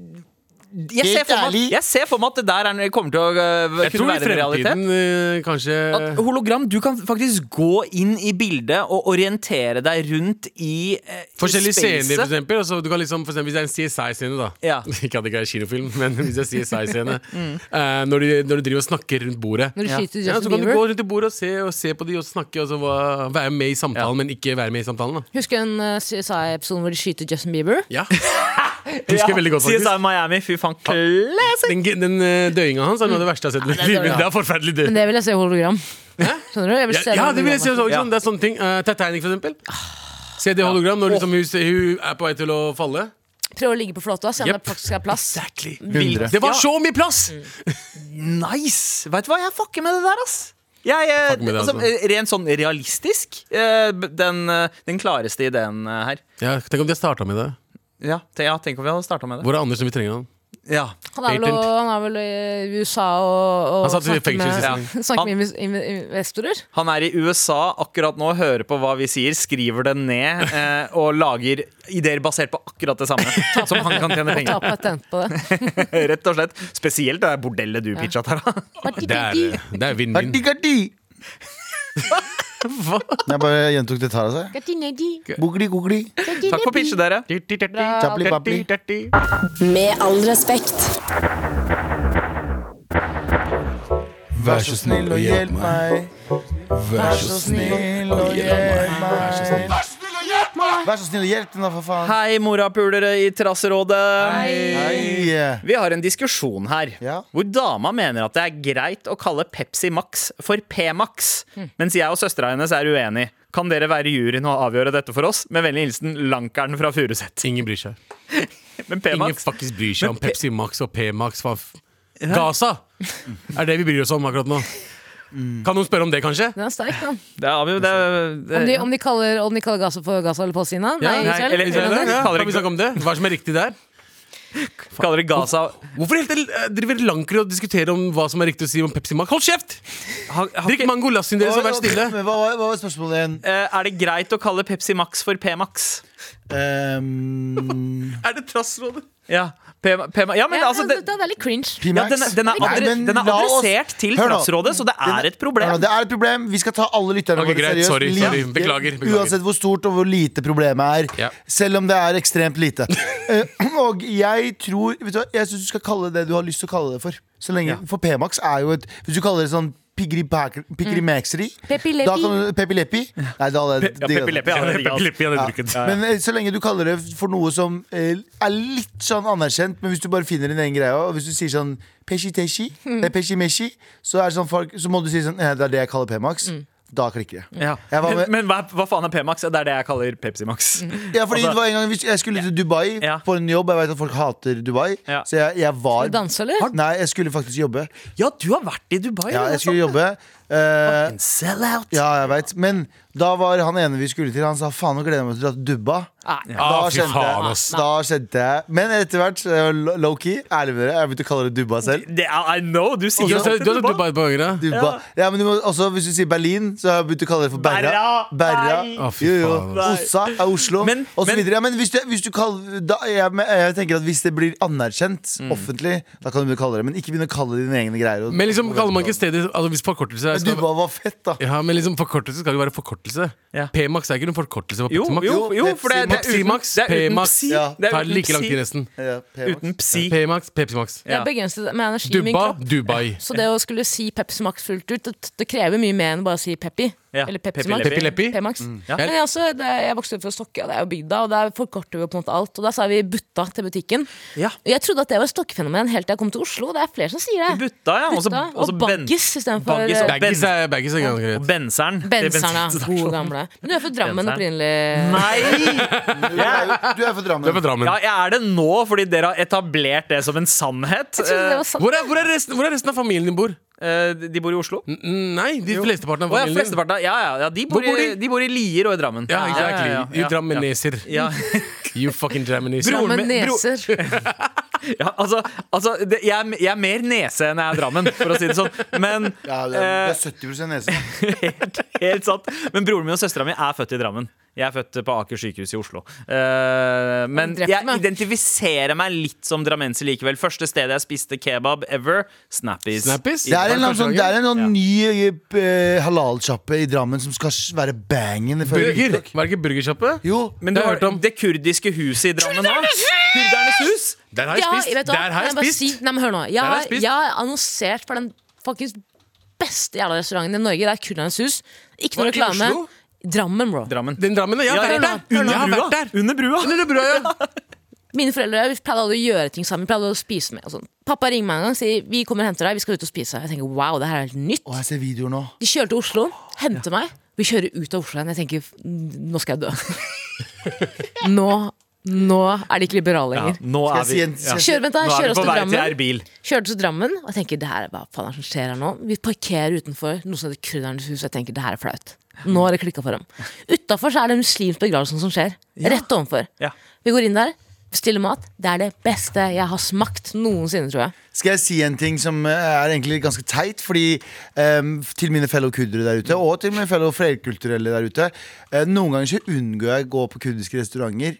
jeg ser, Helt for meg, ærlig? at- jeg ser for meg at det der er, kommer til å eh, kunne Jeg tror i være en realitet. fremtiden eh, kanskje At hologram, du kan faktisk gå inn i bildet og orientere deg rundt i eh, Forskjellige spacet. scener, for eksempel. Altså, du kan liksom, for eksempel. Hvis det er en CSI-scene, da. Ja. Mm. Ikke at det ikke er kinofilm, men hvis det er CSI-scene. eh, når, de- når du driver og snakker rundt bordet. Når du Ja. skyter Ja, så Justin kan du gå Bieber. rundt i bordet og se, og se på de og snakke og så hva- være med i samtalen, men ikke være med i samtalen. da Husker en uh, CSI-episode hvor de skyter Justin Bieber? ja. Husker jeg veldig godt, CSI faktisk. Miami, fy faen, classic! Den, den eh, døyinga hans er noe av det verste jeg har sett. i mitt det er liv. dårlig. Det er forferdelig død. Men det vil jeg se i hologram. Skjønner du? Jeg vil Ja, se ja, det vil jeg hologrammet. si også. ikke Ja. sant? Det er sånne ting. Eh, Titanic, for eksempel. Se det hologram når liksom, hun, hun er på vei til å falle. Prøv å ligge på flåta, se om Jep. det faktisk er plass. Exactly. 100. Det var så mye plass! Nice! Vet du hva, jeg fucker med det der, ass. Jeg, eh, Fucker med det, altså, altså. eh, Rent sånn realistisk, eh, b- den, eh, den klareste ideen eh, her. Ja, tenk om de har starta med det. Ja, te- ja, tenk om vi hadde starta med det. Hvor er Anders når vi trenger han? Ja. Han er, vel, Patent. han er vel i USA og, og Han satt i snakker fengsel med, sist gang. ja. snakker med inves- inve- investorer. Han er i USA akkurat nå, hører på hva vi sier, skriver det ned eh, og lager ideer basert på akkurat det samme. som han kan tjene Ta penger patent på det. på. Rett og slett. Spesielt det der bordellet du pitcha her. da. Det er, det er vinn-vinn. Ardi-gardi. Jeg bare gjentok det Tara sa. Bugli-gugli. Takk for pitchet, dere. Chapli-papli. Med all respekt. Vær så snill og hjelp meg. Vær så snill og hjelp meg. Vær så snill og hjelp meg, da, for faen. Hei, morapulere i Trasserådet. Hei. Vi har en diskusjon her Ja. hvor dama mener at det er greit å kalle Pepsi Max for P-Max, mens jeg og søstera hennes er uenig. Kan dere være juryen og avgjøre dette for oss? Med vennlig hilsen Lankeren fra Furuset. Ingen bryr seg. Men Ingen P-Max faktisk bryr seg om Men P- Pepsi Max og P-Max. hva f- Gaza er det vi bryr oss om akkurat nå. Kan noen spørre om det, kanskje? Den er sterk, den. Det er avgjort, det, det, Om de, om de kaller, om de kaller Gaza for Gaza eller Palestina? Ja, Nei, Israel. eller Israel, Eller- Ja, Kaller kan vi snakke om det? Hva som er riktig der? Kaller det Gaza Hvorfor helt, eh, driver Lankry og diskuterer om hva som er riktig å si om Pepsi Max? Hold kjeft! har, har Drikk ikke, mangolassen deres og vær stille. Men Hva var hva var spørsmålet igjen? Eh, Er det greit å kalle Pepsi Max for P-Max? Ehm, Er det trassrådet? Ja, P P ja men Ja, altså det, det, det er litt cringe. ja, P-Max? den, er- den, er Nei, adre, men den er la oss- adressert til Hør nå. Trassrådet, så det er et problem. Hør nå, Det er et problem. Vi skal ta alle lytterne Ok, greit. seriøst. Sorry, sorry. Like- Beklager, beklager. Uansett hvor stort og hvor lite problemet er. Ja. Selv om det er ekstremt lite. Eh, og jeg tror vet du, hva, Jeg syns du skal kalle det du har lyst til å kalle det for. Så lenge, For P-Max er jo et Hvis du kaller det sånn Pigri Piggrimaxeri Pepi Leppi. Peppi Leppi. Nei, da hadde Ja, jeg digget Peppi det. Leppi, ja, det er digg, altså. Ja. Men eh, så lenge du kaller det for noe som eh, er litt sånn anerkjent, men hvis du bare finner din egen greie, og hvis du sier sånn peshi-teshi, eh, peshi-meshi, så, er det sånn folk- så må du si sånn eh, Det er det jeg kaller P-Max. Da klikker det. Ja. Jeg var med- Men, men hva, hva faen er P-Max? Det er det jeg kaller Pepsi Max. Ja, fordi Altså- det var en gang hvis- Jeg skulle til Dubai Ja. på en jobb. Jeg vet at folk hater Dubai, Ja. så jeg, jeg var Danse, eller? Nei, jeg skulle faktisk jobbe. Ja, du har vært i Dubai. altså. Ja, det er jeg skulle sant, jobbe Eh, Sell-out! ja, jeg vet. Men da var han ene vi skulle til, han sa faen, nå gleder jeg meg til å dra til Dubba. Nei. Da Ah, fy kjente faen, jeg, ass. da kjente jeg Men etter hvert, eh, lo- low-key, ærlig med dere, jeg begynte å kalle det Dubba selv. Det er, I know! Du sier Du har alltid sett du har sett Dubai et par ganger, da? Dubba. Ja. men du må, også, Hvis du sier Berlin, så har jeg begynt å kalle det for Berra. Berra! Berra. Nei! Å, fy Jo, jo. faen, ass. Ossa er Oslo, Men- og så men- videre. Ja, men hvis du, hvis du kaller, da, jeg, men jeg tenker at hvis det blir anerkjent offentlig, da kan du begynne å kalle det Men ikke begynne å kalle det dine egne greier. og- Men liksom kaller man ikke stedet altså Hvis forkortelse er Men Dubba var fett, da. Ja, men liksom forkortelse skal jo være forkortelse. Ja. P-max er ikke noen forkortelse for Jo, Pepsi-Max. jo, jo, for det, det er uten Pepsi-Max, det er uten P-max. psi. Ja. Det er Tar uten like lang tid psi. resten. Ja, P-Max. Uten psi. P-max, Pepsi-max. Jeg er begrenset med energi i min Dubba, kropp. Dubai. Så det å skulle si Pepsi Max fullt ut, det, det krever mye mer enn bare å si Pepsi. Ja, Eller Pepsi Pepsi Max. Leppi. Leppi. P-Max. Ja. Men jeg, også, det, jeg vokste opp fra Stokke, og det er jo bygda, og der forkorter vi på en måte alt. Og der sa vi butta til butikken. Ja. Og Jeg trodde at det var et Stokke-fenomen helt til jeg kom til Oslo, og det er flere som sier det. Butta, ja. Også, Butta, og også ben- baggis istedenfor- Baggis og Baggis ben- er, baggis er ganske Og greit. benseren. Det er Benserne, bensin- gode gamle. Men du er fra Drammen Benseren. opprinnelig. Nei! Du er jo- du er fra Det er Drammen. for Drammen. Ja, jeg er det nå fordi dere har etablert det som en sannhet. Jeg trodde det var sant. Hvor er, hvor, er resten, hvor er resten av familien din bor? Eh, De bor i Oslo. N- Nei, de flesteparten av Å ja, familien din. flesteparten av- ja, ja, ja, de, bor Hvor bor i, de? de bor i Lier og i Drammen. Ja, exactly. ja, ja, You ja. drammeneser. Ja. You fucking drammeneser. Broren Drammen min- bro- neser. Ja, altså, altså det, jeg, er- jeg er mer nese enn jeg er Drammen, for å si det sånn. Men, Ja, det eh, er, det er 70 nese. helt, helt sant. Men broren min og søstera mi er født i Drammen. Jeg er født på Aker sykehus i Oslo. Eh, men drepte jeg meg. identifiserer meg litt som drammenser likevel. Første stedet jeg spiste kebab ever, Snappies. Snappies? Det er en, eller annen sånn, det er en sånn Ja. ny uh, halalsjappe i Drammen som skal være bangen. ifølge Burger. TikTok. Var det ikke burgersjappe? Jo, Men du Det har har jeg hørt om. det kurdiske huset i Drammen nå? Kurdernes hus! Der har jeg Ja, spist! vet du hva? Der har Kan jeg bare spist! Si, nei, men hør nå. Jeg, Der har har jeg spist. jeg har annonsert for den faktisk beste jævla restauranten i Norge. Det er Kurdernes hus. Ikke noe Hva, i reklame. Oslo? Drammen, bro. Drammen. Den Drammen, ja. Ja, Jeg har ja, vært ja. der. Jeg har Under vært brua. der. Under brua. Under brua, ja. Mine foreldre vi pleide aldri å gjøre ting sammen. Vi pleide å spise med og sånn. Pappa ringer meg en gang og sier vi kommer og henter deg. Vi skal ut og spise. Jeg tenker wow, det her er helt nytt. Å, jeg ser videoer nå. De kjører til Oslo, henter meg. Vi kjører ut av Oslo igjen. Jeg tenker nå skal jeg dø. nå, nå er de ikke liberale Ja, lenger. nå er Skal jeg vi si en- skal jeg si- Kjør, vent da, Nå er kjør vi oss på til vei til Drammen. Erbil. Kjørte til Drammen, og jeg tenker det her er hva faen er det som skjer her nå? Vi parkerer utenfor noe som heter Kurdernes hus, og jeg tenker det her er flaut. Nå har det klikka for dem. Utafor er det en muslimsk begravelse som skjer. Rett ovenfor. Ja. Vi går inn der, bestiller mat. Det er det beste jeg har smakt noensinne, tror jeg. Skal jeg si en ting som eh, er egentlig ganske teit? Fordi ehm, Til mine fellow kurdere der ute, og til mine fellow flerkulturelle der ute. eh, noen ganger så unngår jeg å gå på kurdiske restauranter.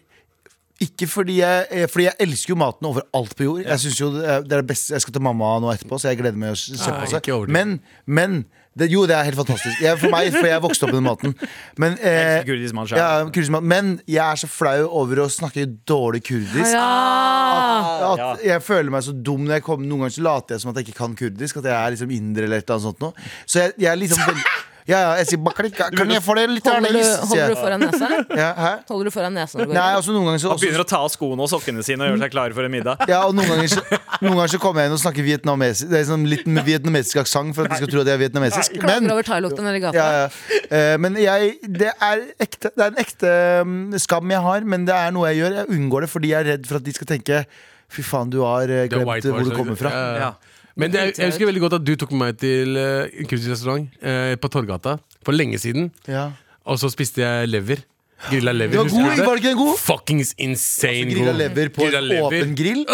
Ikke fordi jeg, eh, fordi jeg elsker jo maten overalt på jord. Jeg synes jo det er det er det beste Jeg skal til mamma nå etterpå, så jeg gleder meg å s- se Nei, på seg. ikke overdriv. Men, men det, Jo, det er helt fantastisk. Jeg, for meg, for jeg vokste opp med den maten. Men, eh, elsker kurdisk mat selv. ja, kurdisk mat. men jeg er så flau over å snakke dårlig kurdisk Ah! at jeg føler meg så dum når jeg kommer Noen ganger så later jeg som at jeg ikke kan kurdisk At jeg er liksom indre eller et eller annet sånt nå Så jeg, jeg er liksom veldig- Ja, ja, jeg sier bakarika Kan jeg få det litt Holder du, annerledes? holder du sier jeg. foran nesa? Ja, hæ? Holder du foran nesa når du går Nei, inn? altså noen ganger så Han også, begynner å ta av skoene og sokkene sine og gjøre seg klare for en middag. ja, og noen ganger, så, noen ganger så kommer jeg inn og snakker vietnamesisk Det er sånn litt med vietnamesisk aksang For at de skal tro at jeg er vietnamesisk Men Klager over thailukten nede i gata. ja, ja. Eh, Men jeg, det, er ekte, det er en ekte mm, skam jeg har, men det er noe jeg gjør. Jeg unngår det fordi jeg er redd for at de skal tenke Fy faen, du har eh, Det er glemt white hvor du boys, kommer fra. ja, ja. Ja. Men det, jeg, jeg husker veldig godt at du tok med meg til eh, en kurdisk restaurant eh, på Torgata for lenge siden. Ja. Og så spiste jeg lever. Grilla lever. Det var husker god, du det? var det ikke den god? Fuckings insane Grilla god. lever på Grilla en lever. åpen grill.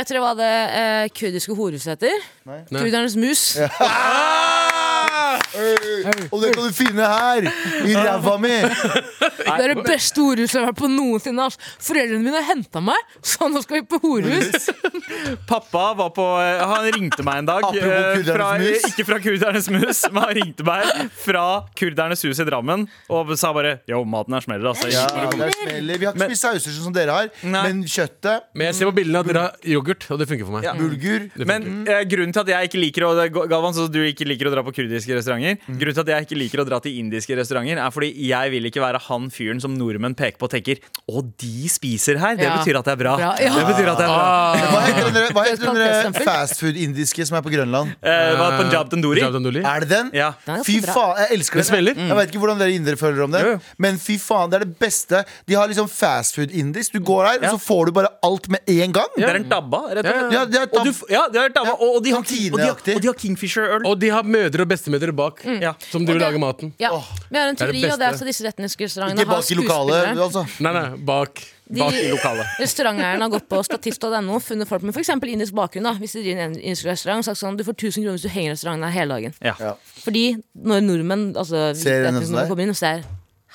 Vet dere hva det eh, kurdiske horehuset heter? Kurdernes mus. Og det kan du finne her! I ræva mi! Det er det beste horehuset jeg har vært på noensinne. ass. Foreldrene mine henta meg, så nå skal vi på horehus. Pappa var på eh, Han ringte meg en dag. Apropos eh, Kurdernes fra, mus. Ikke fra Kurdernes mus, men han ringte meg fra Kurdernes hus i Drammen og sa bare Yo, maten her smeller, altså. Ja, det er smeller. Vi har ikke spist sauser sånn som dere har, Nei. men kjøttet, Men jeg ser på bildene at dere har yoghurt, og det funker for meg. Ja. bulgur Men eh, grunnen til at jeg ikke liker å Galvan, så du ikke liker å dra på kurdiske restauranter Mm. Grunnen til at jeg ikke liker å dra til indiske restauranter, er fordi jeg vil ikke være han fyren som nordmenn peker på og tenker Å, de spiser her! Det Ja. betyr at det er bra. Bra, ja. Det betyr at det er bra. Ah. Hva heter den der- hva heter den der Kvalitetsstempel. fastfood-indiske som er på Grønland? Eh, hva, Punjab Punjab tandoori? Tandoori. Er det den? Ja. Den er ganske Fy bra. faen, jeg elsker den. Den smeller. Jeg vet ikke hvordan dere indere føler om det, Jo, jo. men fy faen, det er det beste. De har liksom fastfood-indisk. Du går der, Ja. og så får du bare alt med en gang. Det er en dabba, rett og slett. Ja, det er Og, du, tab- f- ja, det er dabba. Ja, og, og de har, og de har, kantineaktig. og de har Kingfisher-øl. Og de har mødre og bestemødre sitter bak, Mm. Ja. som Og driver og det- lager maten. Ja. Åh, Vi har en det er det teori, og det er beste. altså disse etniske restaurantene Ikke bak i lokalet, skuespillere. altså. Nei, nei, bak. Bak i lokalet. Restauranteieren har gått på statist.no funnet folk med f.eks. indisk bakgrunn. da Hvis de driver en indisk restaurant og sagt sånn du får 1000 kroner hvis du henger i restauranten her hele dagen. Ja. Fordi når nordmenn altså, Ser vet en ikke sånn når der? de kommer inn og ser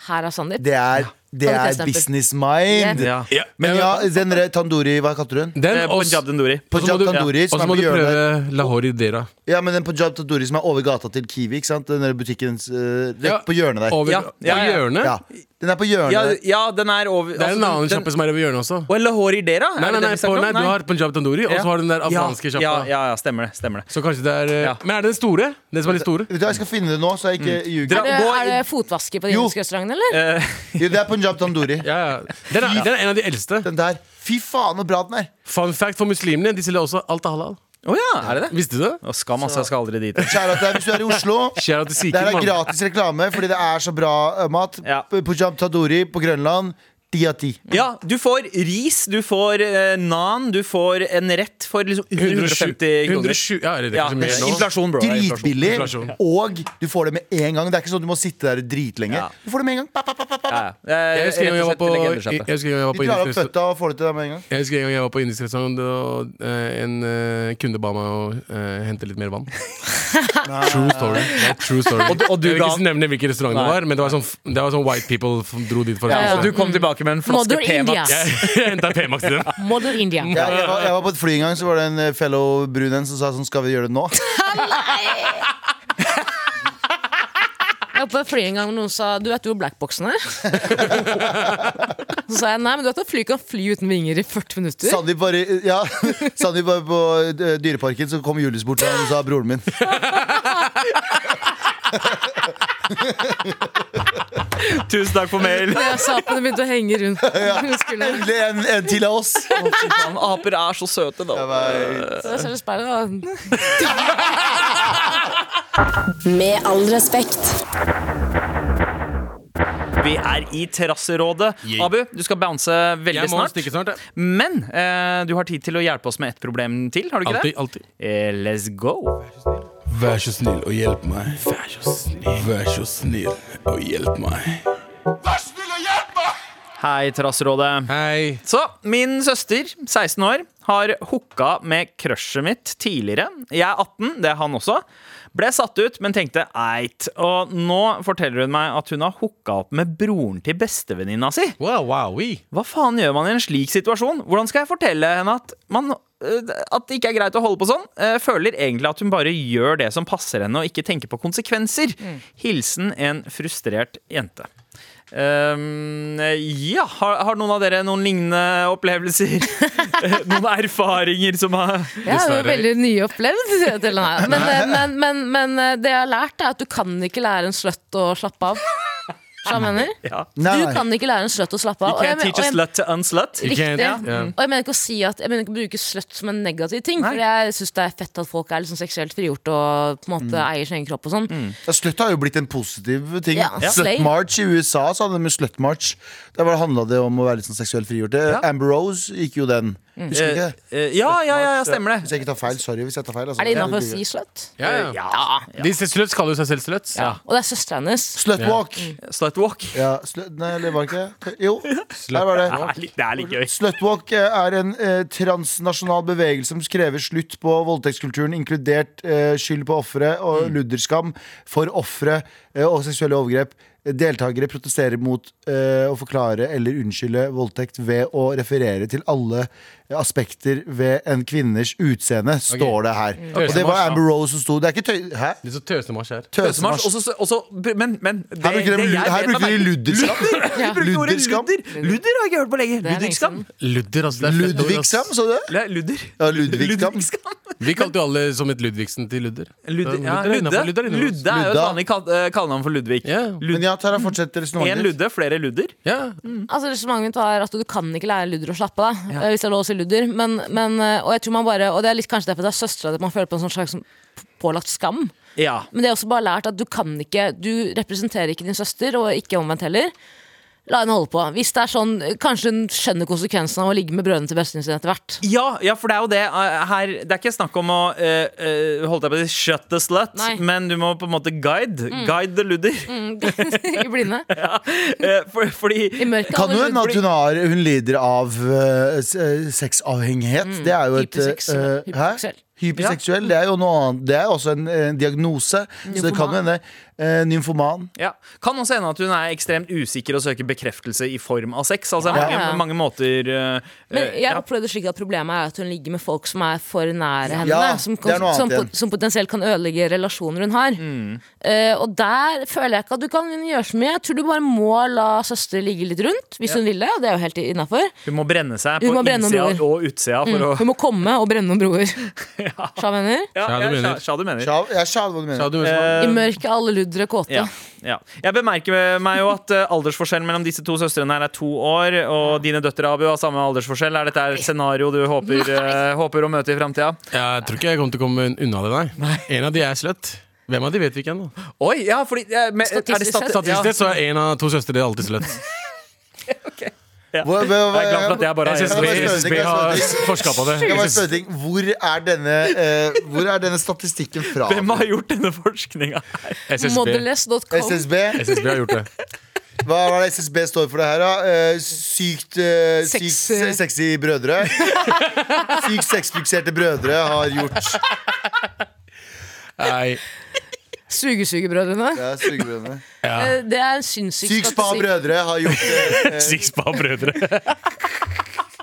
her er Sandeep, Det er, det er Kvalitetsstempel. business mind. Ja. Ja. Men ja, den der tandoori, hva kalte du den? Den, Eh, og Punjab Dendori. og så må Punjab du- tandoori, og som så er må på du hjørnet. prøve lahori dera. Ja, men den Punjab tandoori som er over gata til Kiwi, ikke sant? Den der butikken eh, rett Ja, på hjørnet der. Over, Ja, ja, På ja. hjørnet? Ja, den er på hjørnet. Ja, ja, den er over altså, Det er en annen sjappe som er over hjørnet også. Og Lahori Dera? Nei, nei, nei, på, nei, du har punjab tandoori, og så har du den der afghanske Ja, sjappa. ja, ja, stemmer det. stemmer det Så kanskje det er eh, Ja. Men er det den store? Den som er litt store? Vet du, hva, Jeg skal finne det nå, så jeg ikke Mm. Dra- ljuger. er, gå- er det fotvasker på de Jo. indiske restaurantene, Eh. eller? Jo, det er Punjab tandoori. Ja, ja. Den, er, den er en av de eldste. Den der. Fy faen, så bra den er! Fun fact for muslimene, de selger også alt av halal. Å ja, er det det? Visste du det? Å, skam, altså. Jeg skal aldri dit. Kjære at det er, hvis du er i Oslo Shout out til Det her Sikhen, er mann. gratis reklame fordi det er så bra eh, mat. Ja. P- Punjab tandoori på Grønland, ti av ti. Ja, du får ris, du får eh, nan, du får en rett for liksom under 150 kroner. 120 Ja, eller det er Ja, kanskje det er mer nå. inflasjon, bro. det er inflasjon. Dritbillig, Inflasjon. og du får det med en gang. Det er ikke sånn at du må sitte der dritlenge. Ja. Du får det med en gang. Pa, pa, pa, pa, pa. Ja, ja. Eh, Jeg husker en gang jeg var rett og på slett Jeg legendesjappe. husker en gang jeg var De på klarer indisk opp restaurant. føtta og får det til deg med en gang. Jeg husker en gang jeg var på indisk restaurant, og eh, en eh, kunde ba meg å eh, hente litt mer vann. true story. Nei, true story. Og du- og du jeg vil ikke ga- nevne hvilken restaurant det Nei. var, men det var sånn, f- det var sånn white people som dro dit for å Ja, spise. og du kom tilbake med en flaske Modern India. P-Max. Jeg, jeg henta P-Max til dem. Modern India. Ja, jeg, var, jeg var på et fly en gang, så var det en eh, fellow brun en som sa sånn Skal vi gjøre det nå? Jeg var på et fly en gang og noen sa du vet jo hvor blackboxen er? Så sa jeg nei, men du vet at fly kan fly uten vinger i 40 minutter? Sandeep var, i- ja, Sandeep var på eh, Dyreparken, så kom Julius bort til ham og sa broren min. Tusen takk for mail. Og jeg sa på det begynte å henge rundt. skulderen. Endelig en, en til av oss! Å, fy faen, Aper er så søte, da. Så jeg ser i speilet og Med all respekt. Vi er i Terrasserådet. Yeah. Abu, du skal bounce eh, veldig Jeg må snart. stikke snart. jeg. Men eh, du har tid til å hjelpe oss med ett problem til. har du ikke Alltid. det? alltid Eh, let's go. Vær så snill og hjelp meg. Vær så snill. Vær så snill og hjelp meg. Hei, Terrasserådet. Hei. Så, min søster, 16 år, har hooka med crushet mitt tidligere. Jeg er 18, det er han også. Ble satt ut, men tenkte eit. Og nå forteller hun meg at hun har hooka opp med broren til bestevenninna si. Wow, wow, we. Hva faen gjør man i en slik situasjon? Hvordan skal jeg fortelle henne at, man, øh, at det ikke er greit å holde på sånn? Jeg føler egentlig at hun bare gjør det som passer henne, og ikke tenker på konsekvenser. Mm. Hilsen en frustrert jente. Ehm, ja, har, har noen av dere noen lignende opplevelser? Eh, noen erfaringer som har Ja, det var Dessverre. veldig nyopplevd. sier jeg til henne. Men, men, men, men eh, det jeg har lært, er at du kan ikke lære en sløtt å slappe av. Skjønner du hva jeg mener? ja. Nei, Du kan ikke lære en sløtt å slappe You av. Og jeg can't men- teach og a jeg- slut to unslut. You can't- Riktig. Mm. ja. Og jeg mener ikke å si at Jeg mener ikke å bruke sløtt som en negativ ting. Nei. For jeg syns det er fett at folk er liksom seksuelt frigjort og på en måte eier sin egen kropp og sånn. Ja, Slutt har jo blitt en positiv ting. Ja, Ja. slay. Slut March i USA så hadde de med Slut March. Der var det handla det om å være litt sånn seksuelt frigjort. Ja. Amber Rose gikk jo den. Mm. Husker du ikke? Eh, det? eh, ja, ja, ja, ja, stemmer Hvis det. jeg ikke tar feil, sorry. hvis jeg tar feil altså. Er det innafor å si sløtt? Ja, ja. Ja. De sluts kaller jo seg selv sluts. Og det er søstera hennes. Slutwalk. Mm. Slut walk. Ja, slut, nei, eller var det ikke Jo, der var Det er det. litt- det er litt gøy. Slutwalk eh, er en eh, transnasjonal bevegelse som krever slutt på voldtektskulturen, inkludert eh, skyld på ofre og ludderskam for ofre eh, og seksuelle overgrep. Deltakere protesterer mot eh, å forklare eller unnskylde voldtekt ved å referere til alle eh, aspekter ved en kvinners utseende, står det her. Og det var Tøysemarsj, Amber Rose som sto Det er ikke tøy... Hæ? Litt så tøsemarsj her. Tøsemarsj. Tøysemarsj. Også, også, men, men det, Her bruker det de, jeg her vet er bruker de merkelig- ludderskam. Ja. Brukte ordet Ludderskam. Ludder. Ludder har jeg ikke hørt på lenge. lenge Ludderskam. Ludder, altså. Det er fett ord, ass. Ludvigskam, sa du det? Le- Ludder. Ja, Ludvigskam. Ludvigskam. Vi kalte jo alle som et Ludvigsen til Ludder. Ludde, ja, er Ludde. innenfor, Ludder er innenfor. Ludde er jo et Ludda. vanlig kall- eh, kallenavn for Ludvig. Ja. Men ja, Tara, fortsett Én resonnementet. ditt. Ludde, flere Ludder. Ja. Altså Resonnementet mitt var at du kan ikke lære ludder å slappe av. eh, Hvis det er lov å si ludder. Men, men, eh, og jeg tror man bare Og det er litt kanskje derfor det er søstera at man føler på en sånn slags sånn pålagt skam. Ja. Men det er også bare lært at du kan ikke Du representerer ikke din søster, og ikke omvendt heller. La henne holde på. Hvis det er sånn, Kanskje hun skjønner konsekvensen av å ligge med brødrene til bestevenninnen sin etter hvert. Ja, ja, for det er jo det. eh, Her, det er ikke snakk om å eh, eh, holdt jeg på å si, shut the slut, Nei. Mm. men du må på en måte guide. Guide the ludder. I blinde. Eh, for, fordi I mørket. Kan jo alle hende at hun, har, hun lider av eh, s- eh, sexavhengighet. det er jo et Mm. hyperseksuell. eh, hæ? Hyperseksuell. Hyperseksuell. Det er jo noe annet. Det er jo også en, eh, diagnose. Så det kan jo hende eh, nymfoman. Ja. Kan også hende at hun er ekstremt usikker og søker bekreftelse i form av sex. Altså, Ja. mange, mange måter eh, Men eh, jeg opplevde slik at problemet er at hun ligger med folk som er for nære henne. Ja, som, det er noe annet som, igjen. Mm. som potensielt kan ødelegge relasjoner hun har. Eh, og der føler jeg ikke at du kan gjøre så mye. Jeg tror du bare må la søster ligge litt rundt, hvis hun vil det. Og det er jo helt innafor. Hun må brenne seg Hun på må brenne Mm. innsida noen og utsida for å Hun må komme og brenne noen broer. Sja mener. ja, Sja, du ja, mener. sja- sja, du mener. Ja, jeg skjønner hva du Sa mener. du noe Um, I mørket er alle luddere kåte. Ja, ja. Jeg bemerker meg jo at eh, aldersforskjellen mellom disse to søstrene her er to år, og dine døtre Abu har samme aldersforskjell. Er dette et scenario du håper, eh, håper å møte i framtida? Jeg tror ikke jeg kommer til å komme unna det, nei. En av de er slutt. Hvem av de vet vi ikke ennå. Oi, ja, fordi eh, men, er det Statistisk stati- sett. ja. Statistisk sett så er en av to søstre alltid slutt. Hvor- Jeg er glad for at jeg bare SSB har SSB har forska på det. Jeg bare spør ting. Hvor er denne, eh, hvor er denne statistikken fra? Hvem har gjort denne forskninga? SSB, Modeless.com. SSB? har gjort det. Hva er det SSB står for det her, da? Eh, Sykt, eh, sykt Sexy. se- sexy brødre. Sykt sexfikserte brødre har gjort Nei, Sugesugebrødrene. ja, sugebrødrene. Eh, Det er en sinnssyk Sykt spa statistikk. brødre har gjort eh, eh, Sixpa-brødre.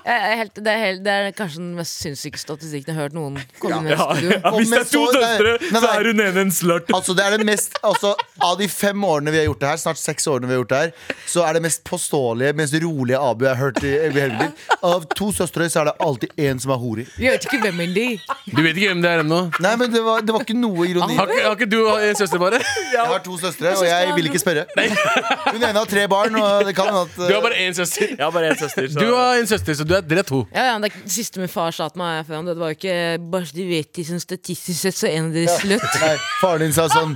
Jeg er helt, det, er helt, det er kanskje den mest sinnssyke statistikken jeg har hørt noen komme med. i Ja, studio. ja, hvis det er to Om jeg så- nei, døtre, nei, så nei. er hun ene en slurt. Altså det er det mest altså, Av de fem årene vi har gjort det her, snart seks årene vi har gjort det her, så er det mest påståelige, mest rolige Abu jeg har hørt i i hele mitt liv. Av to søstre så er det alltid én som er hore. Vi vet ikke hvem er de Du vet ikke hvem det er ennå? Nei, men det var, det var ikke noe ironi. Har, ikke- har ikke du en søster, bare? Jeg har to søstre, og jeg vil ikke spørre. Hun ene har tre barn, og det kan hende at Du har bare én søster. Jeg har bare én søster. så- Du har en søster, så du er, dere er to. Ja, ja, det, er ikke- det siste min far sa til meg før han døde, var jo ikke Bare så du vet, de som statistisk sett, så er en av dere slutt. eh, Nei, faren din sa sånn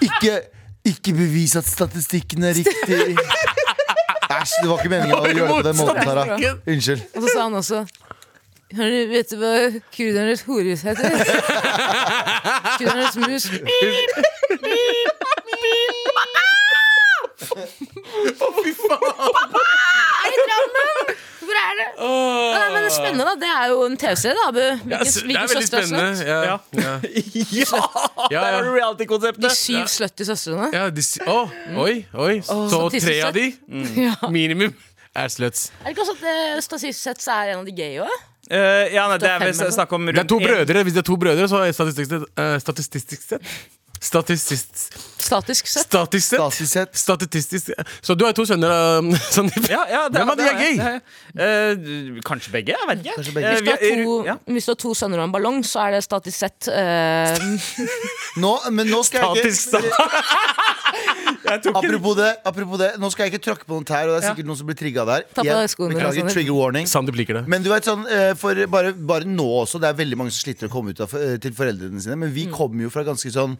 Ikke, ikke bevis at statistikken er riktig. Æsj, det var ikke meningen å gjøre det på den måten. Tara. Unnskyld. Og så sa han også «Har du- Vet du hva kurdernes horehus heter? Kurdernes mus. Ja, nei, men det er spennende, da. Det er jo en TV-serie, da, Abu. Ja, s- Hvilken, det hvilken er veldig søster er slutt? spennende. Ja, Ah, ja. Ja! Der ja. har du De reality-konseptet. syv slutty søstrene. Ja, de, s- å, oi, oi. Så statistisk tre av de, Ja. minimum, er sluts. Er det ikke også at det statistisk sett så er en av de gay òg? Eh, ja, nei, det er fem, vel eller? snakk om sånn. Det er to en- brødre. Hvis det er to brødre, så er statistisk sett eh, Statistisk sett? Statistisk Statisk sett. Statisk sett? Statisk sett. Statistisk Så du har to sønner, eh, Sandeep? Ja, ja, det, Hvem av de det er gay? det er- Eh, kanskje begge, jeg vet ikke. Kanskje begge. Eh, Hvis du har vi- to, ja. hvis du har to sønner og en ballong, så er det statisk sett eh, Nå, men nå skal jeg Statisk ikke Apropos det, apropos det, nå skal jeg ikke tråkke på noen tær, og det er sikkert noen som blir trigga der. Ta på Igjen, deg skoene, Beklager, Alexander. trigger warning. Sandeep liker det. Men du vet sånn, eh, for bare, bare nå også, det er veldig mange som sliter å komme ut av, eh, til foreldrene sine, men Mm. vi kommer jo fra ganske sånn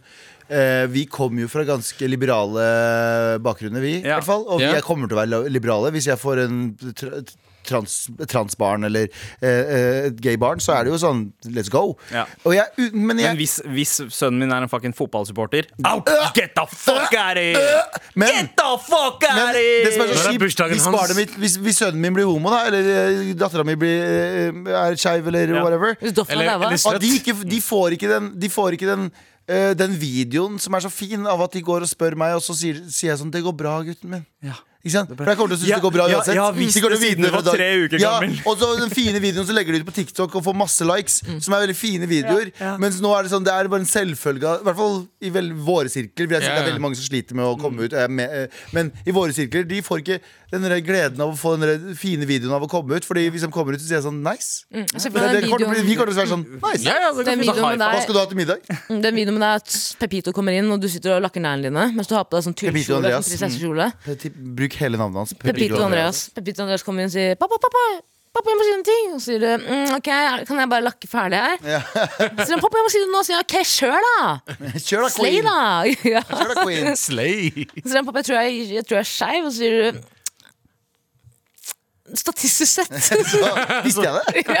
eh, vi kommer jo fra ganske liberale eh, bakgrunner, vi. i Ja. hvert fall Og Ja. jeg kommer til å være la- liberale hvis jeg får en tra trans, transbarn eller eh, eh, et gay barn. Så er det jo sånn let's go. Ja. Og jeg, u- men jeg Men hvis, hvis sønnen min er en fucking fotballsupporter Out! Get the fuck out of here! men- Get the fuck out Men of det som here! er så Når er kjipt, bursdagen hvis, hans? barnet mitt, hvis, hvis sønnen min blir homo, da, eller eh, dattera mi eh, er skeiv, eller Ja. whatever Hvis Doffen er Eller- daua. eller Og de, ikke, de får ikke den, de får ikke den eh, den videoen som er så fin av at de går og spør meg, og så sier, sier jeg sånn 'Det går bra, gutten min'. Ikke sant? For jeg kommer til å synes Ja, det går bra ja, uansett. ja, visst De kommer til å det vite siden du fra var dag- tre uker ja, gammel. Mm. Og så den fine videoen så legger de ut på TikTok og får masse likes, som er veldig fine videoer. ja. Mens nå er det sånn, det er bare en selvfølge av- I hvert fall i vel, våre sirkler. Vil jeg si, Ja, Det er ja. veldig mange som sliter Mm. med å komme ut. og jeg er Med, eh, men i våre sirkler de får ikke den der gleden av å få den der fine videoen av å komme ut. Fordi hvis de kommer ut, så sier jeg sånn nice. Mm. Se for Men deg det, den kommer til å bli- vi videoen- kommer til å være sånn nice. Ja, ja, den det kan vi videoen med Hva skal deg du ha til middag? Den videoen med deg at Pepito kommer inn, og du sitter og lakker neglene dine mens du har på deg sånn Pepito tullkjole. Andreas. Sånn prinsessekjole. Ti- Bruk hele navnet hans. Pepito Andreas. Pepito Andreas kommer inn og sier 'pappa, pappa'. Pappa, jeg må si en ting Og så sier du mm, 'ok, kan jeg bare lakke ferdig her?' Så sier han 'pappa, jeg må si det nå'. Så sier han 'ok, kjør da'. Kjør da, Slay, queen. da. Ja. Kjør da, queen. Slay. Så sier han 'pappa, jeg tror jeg, jeg, tror jeg er skeiv'. Og så sier du Statistisk sett Visste jeg det?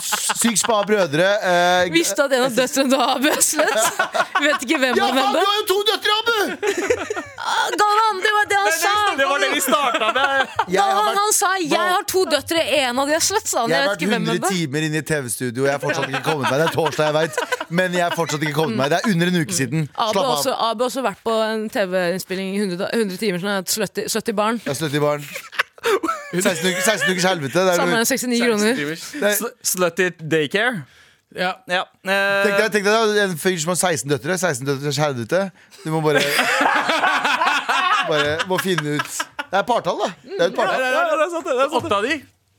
Sykt spa brødre. eh, g- visste at en av døtrene var bøslet. Vet ikke hvem ja, av hvem. faen, du det- har jo to døtre, Abu! Galvan, det var det han sa! Det var det vi starta med. Jeg har Galvan, vært, han sa 'jeg har to døtre, en av de er slett', sa han. Jeg jeg vet har vært ikke hvem 100 hvem det er. timer inne i TV-studio, jeg har fortsatt ikke kommet meg. Det er torsdag, jeg vet Men jeg har fortsatt ikke kommet meg. Det er under en uke siden. Abu har Slapp av. også, Abu har også vært på en TV-innspilling i 100, da- 100 timer sånn som har hatt 70, 70 barn. Jeg har sluttet i barn. 16 uker- 16 ukers helvete. Det er Samla noe. inn 69 kroner. Nei. Sl- Slutty daycare. Ja. Ja. Tenk Eh, deg, tenk deg da, en fyr som har 16 døtre. 16 døtres helvete. Du må bare Bare må finne ut Det er partall, da. Det er et partall. ja, ja, det er sant, det er sant. Åtte av de.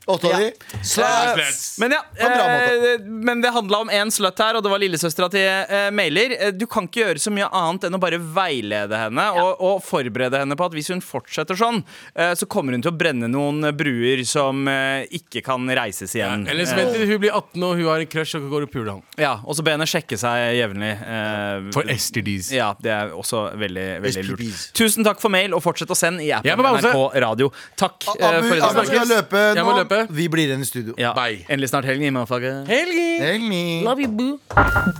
Åtte av de. Eh, Sluts. Men ja, en bra eh, men det handla om én slutt her, og det var lillesøstera til eh, Mailer. Eh, Du kan ikke gjøre så mye annet enn å bare veilede henne og, og forberede henne på at hvis hun fortsetter sånn, eh, så kommer hun til å brenne noen eh, bruer som eh, ikke kan reises igjen. Eh, Eller så vent til hun blir 18 og hun har en crush og går og puler han. Ja, Og så be henne sjekke seg jevnlig. eh, For STDs. Ja, det er også veldig, veldig lurt. SPPs. Tusen takk for mail, og fortsett å sende i Jeg appen må pause. NRK Radio. Takk eh, Abu, for i Abu dag. skal løpe Jeg nå. må løpe. Vi blir igjen i studio. Ja, Bye. endelig snart helg, innenfor Helgi! Heng i. Love you, boo.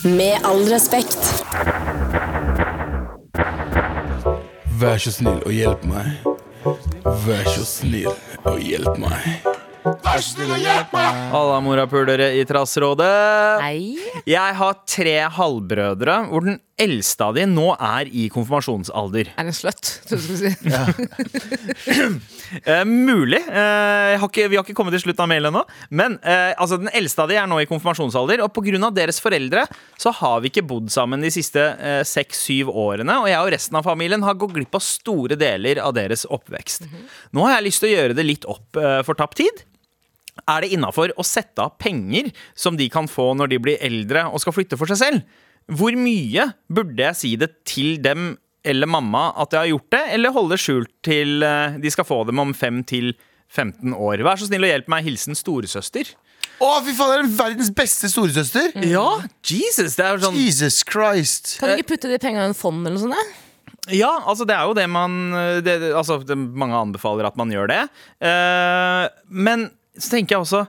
Med all respekt. Vær så snill og hjelp meg. Vær så snill og hjelp meg. Alla morapulere i Trassrådet. Nei. Jeg har tre halvbrødre, hvor den eldste av de nå er i konfirmasjonsalder. Er en sløtt, trodde du skulle si. Eh, mulig. Eh, jeg har ikke, vi har ikke kommet til slutten av mailen ennå. Men eh, altså, den eldste av de er nå i konfirmasjonsalder, og pga. deres foreldre så har vi ikke bodd sammen de siste seks-syv årene. Og jeg og resten av familien har gått glipp av store deler av deres oppvekst. Nå har jeg lyst til å gjøre det litt opp eh, for tapt tid. Er det innafor å sette av penger som de kan få når de blir eldre og skal flytte for seg selv? Hvor mye burde jeg si det til dem eller mamma at jeg har gjort det, eller holde det skjult til eh, de skal få dem om 5 til 15 år? Vær så snill og hjelp meg. Hilsen storesøster. Å, fy faen, det er verdens beste storesøster! Ja, Jesus! Det er jo Mm. sånn Jesus Christ. Kan du ikke putte de pengene i en fond eller noe sånt? da? Ja, altså det er jo det man eh, det, det- Altså det, mange anbefaler at man gjør det. Eh, men så tenker jeg også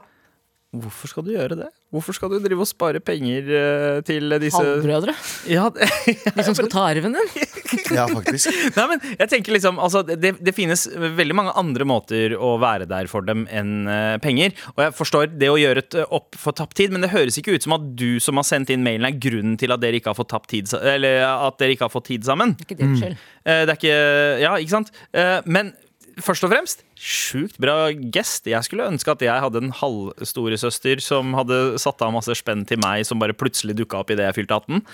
Hvorfor skal du gjøre det? Hvorfor skal du drive og spare penger eh, til disse Halvbrødre. Ja, De som skal ta arven din. Ja, faktisk. Nei, men jeg tenker liksom altså, det, det finnes veldig mange andre måter å være der for dem enn eh, penger. Og jeg forstår det å gjøre et eh, opp for tapt tid, men det høres ikke ut som at du som har sendt inn mailen, er grunnen til at dere ikke har fått, tapt tid, sa- eller eh, at dere ikke har fått tid sammen. Ikke Mm. din skyld. Eh, Det er ikke Ja, ikke sant? Eh, Men først og fremst Sjukt bra gest. Jeg skulle ønske at jeg hadde en halvstoresøster som hadde satt av masse spenn til meg, som bare plutselig dukka opp idet jeg fylte 18.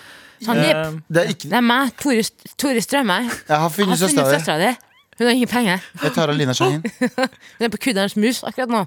Sandeep, Det er ikke, det er meg. Tore, Tore Strømøy. Jeg jeg har har funnet funnet Um. søstera di. søstera di. Hun har ingen penger. Jeg tar av Lina Shahin. Hun er på Kudderens mus akkurat nå.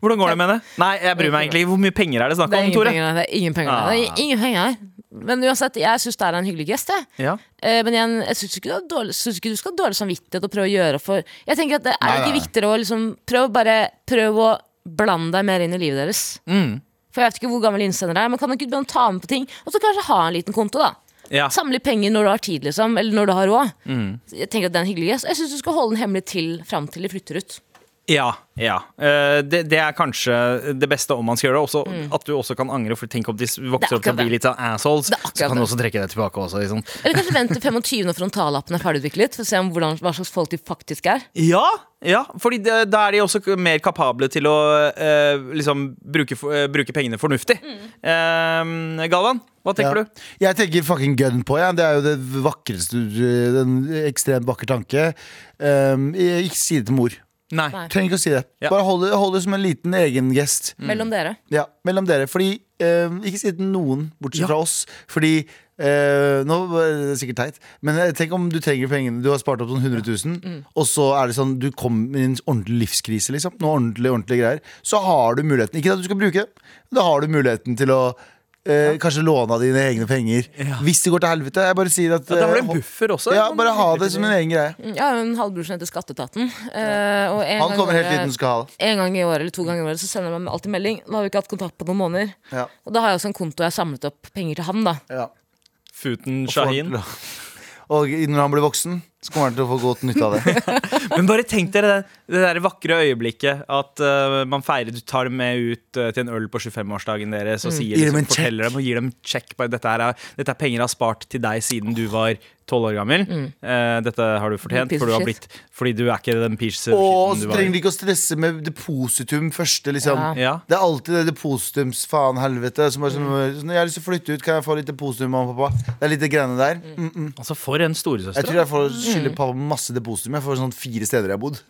Hvordan går det med det? Nei, jeg bryr meg egentlig ikke. Hvor mye penger er det snakk Det er om, ingen Tore? penger der. Det er ingen penger der. Ah. Det er ingen penger der. Men uansett, jeg syns det er en hyggelig gest. Jeg. Ja. Eh, Men igjen, jeg syns ikke, du har dårlig- synes ikke du skal ha dårlig samvittighet og prøve å gjøre for Jeg tenker at det Er det Nei, ikke nei. viktigere å liksom prøve å bare Prøve å blande deg mer inn i livet deres? Mm. For jeg vet ikke hvor gammel innsender er, men kan du ikke begynne å ta med på ting? Og så kanskje ha en liten konto, da. Ja. Samle penger når du har tid, liksom. Eller når du har råd. Mm. Jeg tenker at det er en hyggelig gest. Jeg syns du skal holde den hemmelig til fram til de flytter ut. Ja. ja. Eh, det, det er kanskje det beste om man skal gjøre det. Også, At du også kan angre, for tenk om de Mm. Det er vokser opp til å akkurat bli litt sånn assholes. Det er akkurat Så kan det. du også trekke det tilbake også. Liksom. Eller kanskje vent til 25 når frontallappen er ferdigutviklet, for å se om hvordan, hva slags folk de faktisk er. Ja, ja, fordi det, da er de også k- mer kapable til å eh, liksom bruke, for- eh, bruke pengene fornuftig. Mm. Eh, Galvan, hva tenker du? Ja. Jeg tenker fucking gun på, ja. Det er jo det vakreste du- En ekstremt vakker tanke. Um, jeg- ikke si det til mor. Nei. Nei. Trenger ikke å si det. Ja. Mm. Bare hold det, hold det som en liten egen gest. Mellom dere. Ja, mellom dere. Fordi um, Ikke si det til noen, bortsett Ja. fra oss. Fordi eh, Nå er det sikkert teit, men eh, tenk om du trenger pengene. Du har spart opp sånn 100 Mm. 000, og så er det sånn du kommer i en ordentlig livskrise. liksom Noe ordentlig, ordentlig greier Så har du muligheten. Ikke at du skal bruke det, men da har du muligheten til å eh, Kanskje låne av dine egne penger. Hvis det går til helvete. Jeg bare sier at Ja, da har du eh, en ho- buffer også. ja, Bare ha det som en egen greie. Jeg har jo Mm, en halvbror som heter Skatteetaten. eh, og en Han gang i kommer helt året- dit han skal ha det. En gang i året eller to ganger i året Så sender han meg alltid melding. Nå har vi ikke hatt kontakt på noen måneder. Ja. Og da har jeg også en konto jeg har samlet opp penger til han. da Ja. Futen Shahin. Og når han blir voksen, Så kommer han til å få godt nytte av det. Men bare tenk dere det, det der vakre øyeblikket at eh, man feirer, du tar dem med ut eh, til en øl på 25-årsdagen deres og sier, Mm. Gir dem en liksom, forteller dem og gir dem check. Bare, dette, her er, dette er penger jeg har spart til deg siden du var 12 år gammel. Mm. Eh, dette har du fortjent, Piece for du of shit. har blitt, fordi du er ikke den piece of Og shiten så du trenger var. de ikke å stresse med depositum først. Liksom. Ja. Ja. Det er alltid det depositums faen helvete. Som er sånn, sånn, jeg har lyst til å flytte ut, kan jeg få litt depositum, mamma og pappa? Det er litt det greiene der. Mm -mm. Altså, for en Jeg storesøster. tror jeg får skylde pappa masse depositum. Jeg får sånn fire steder jeg har bodd.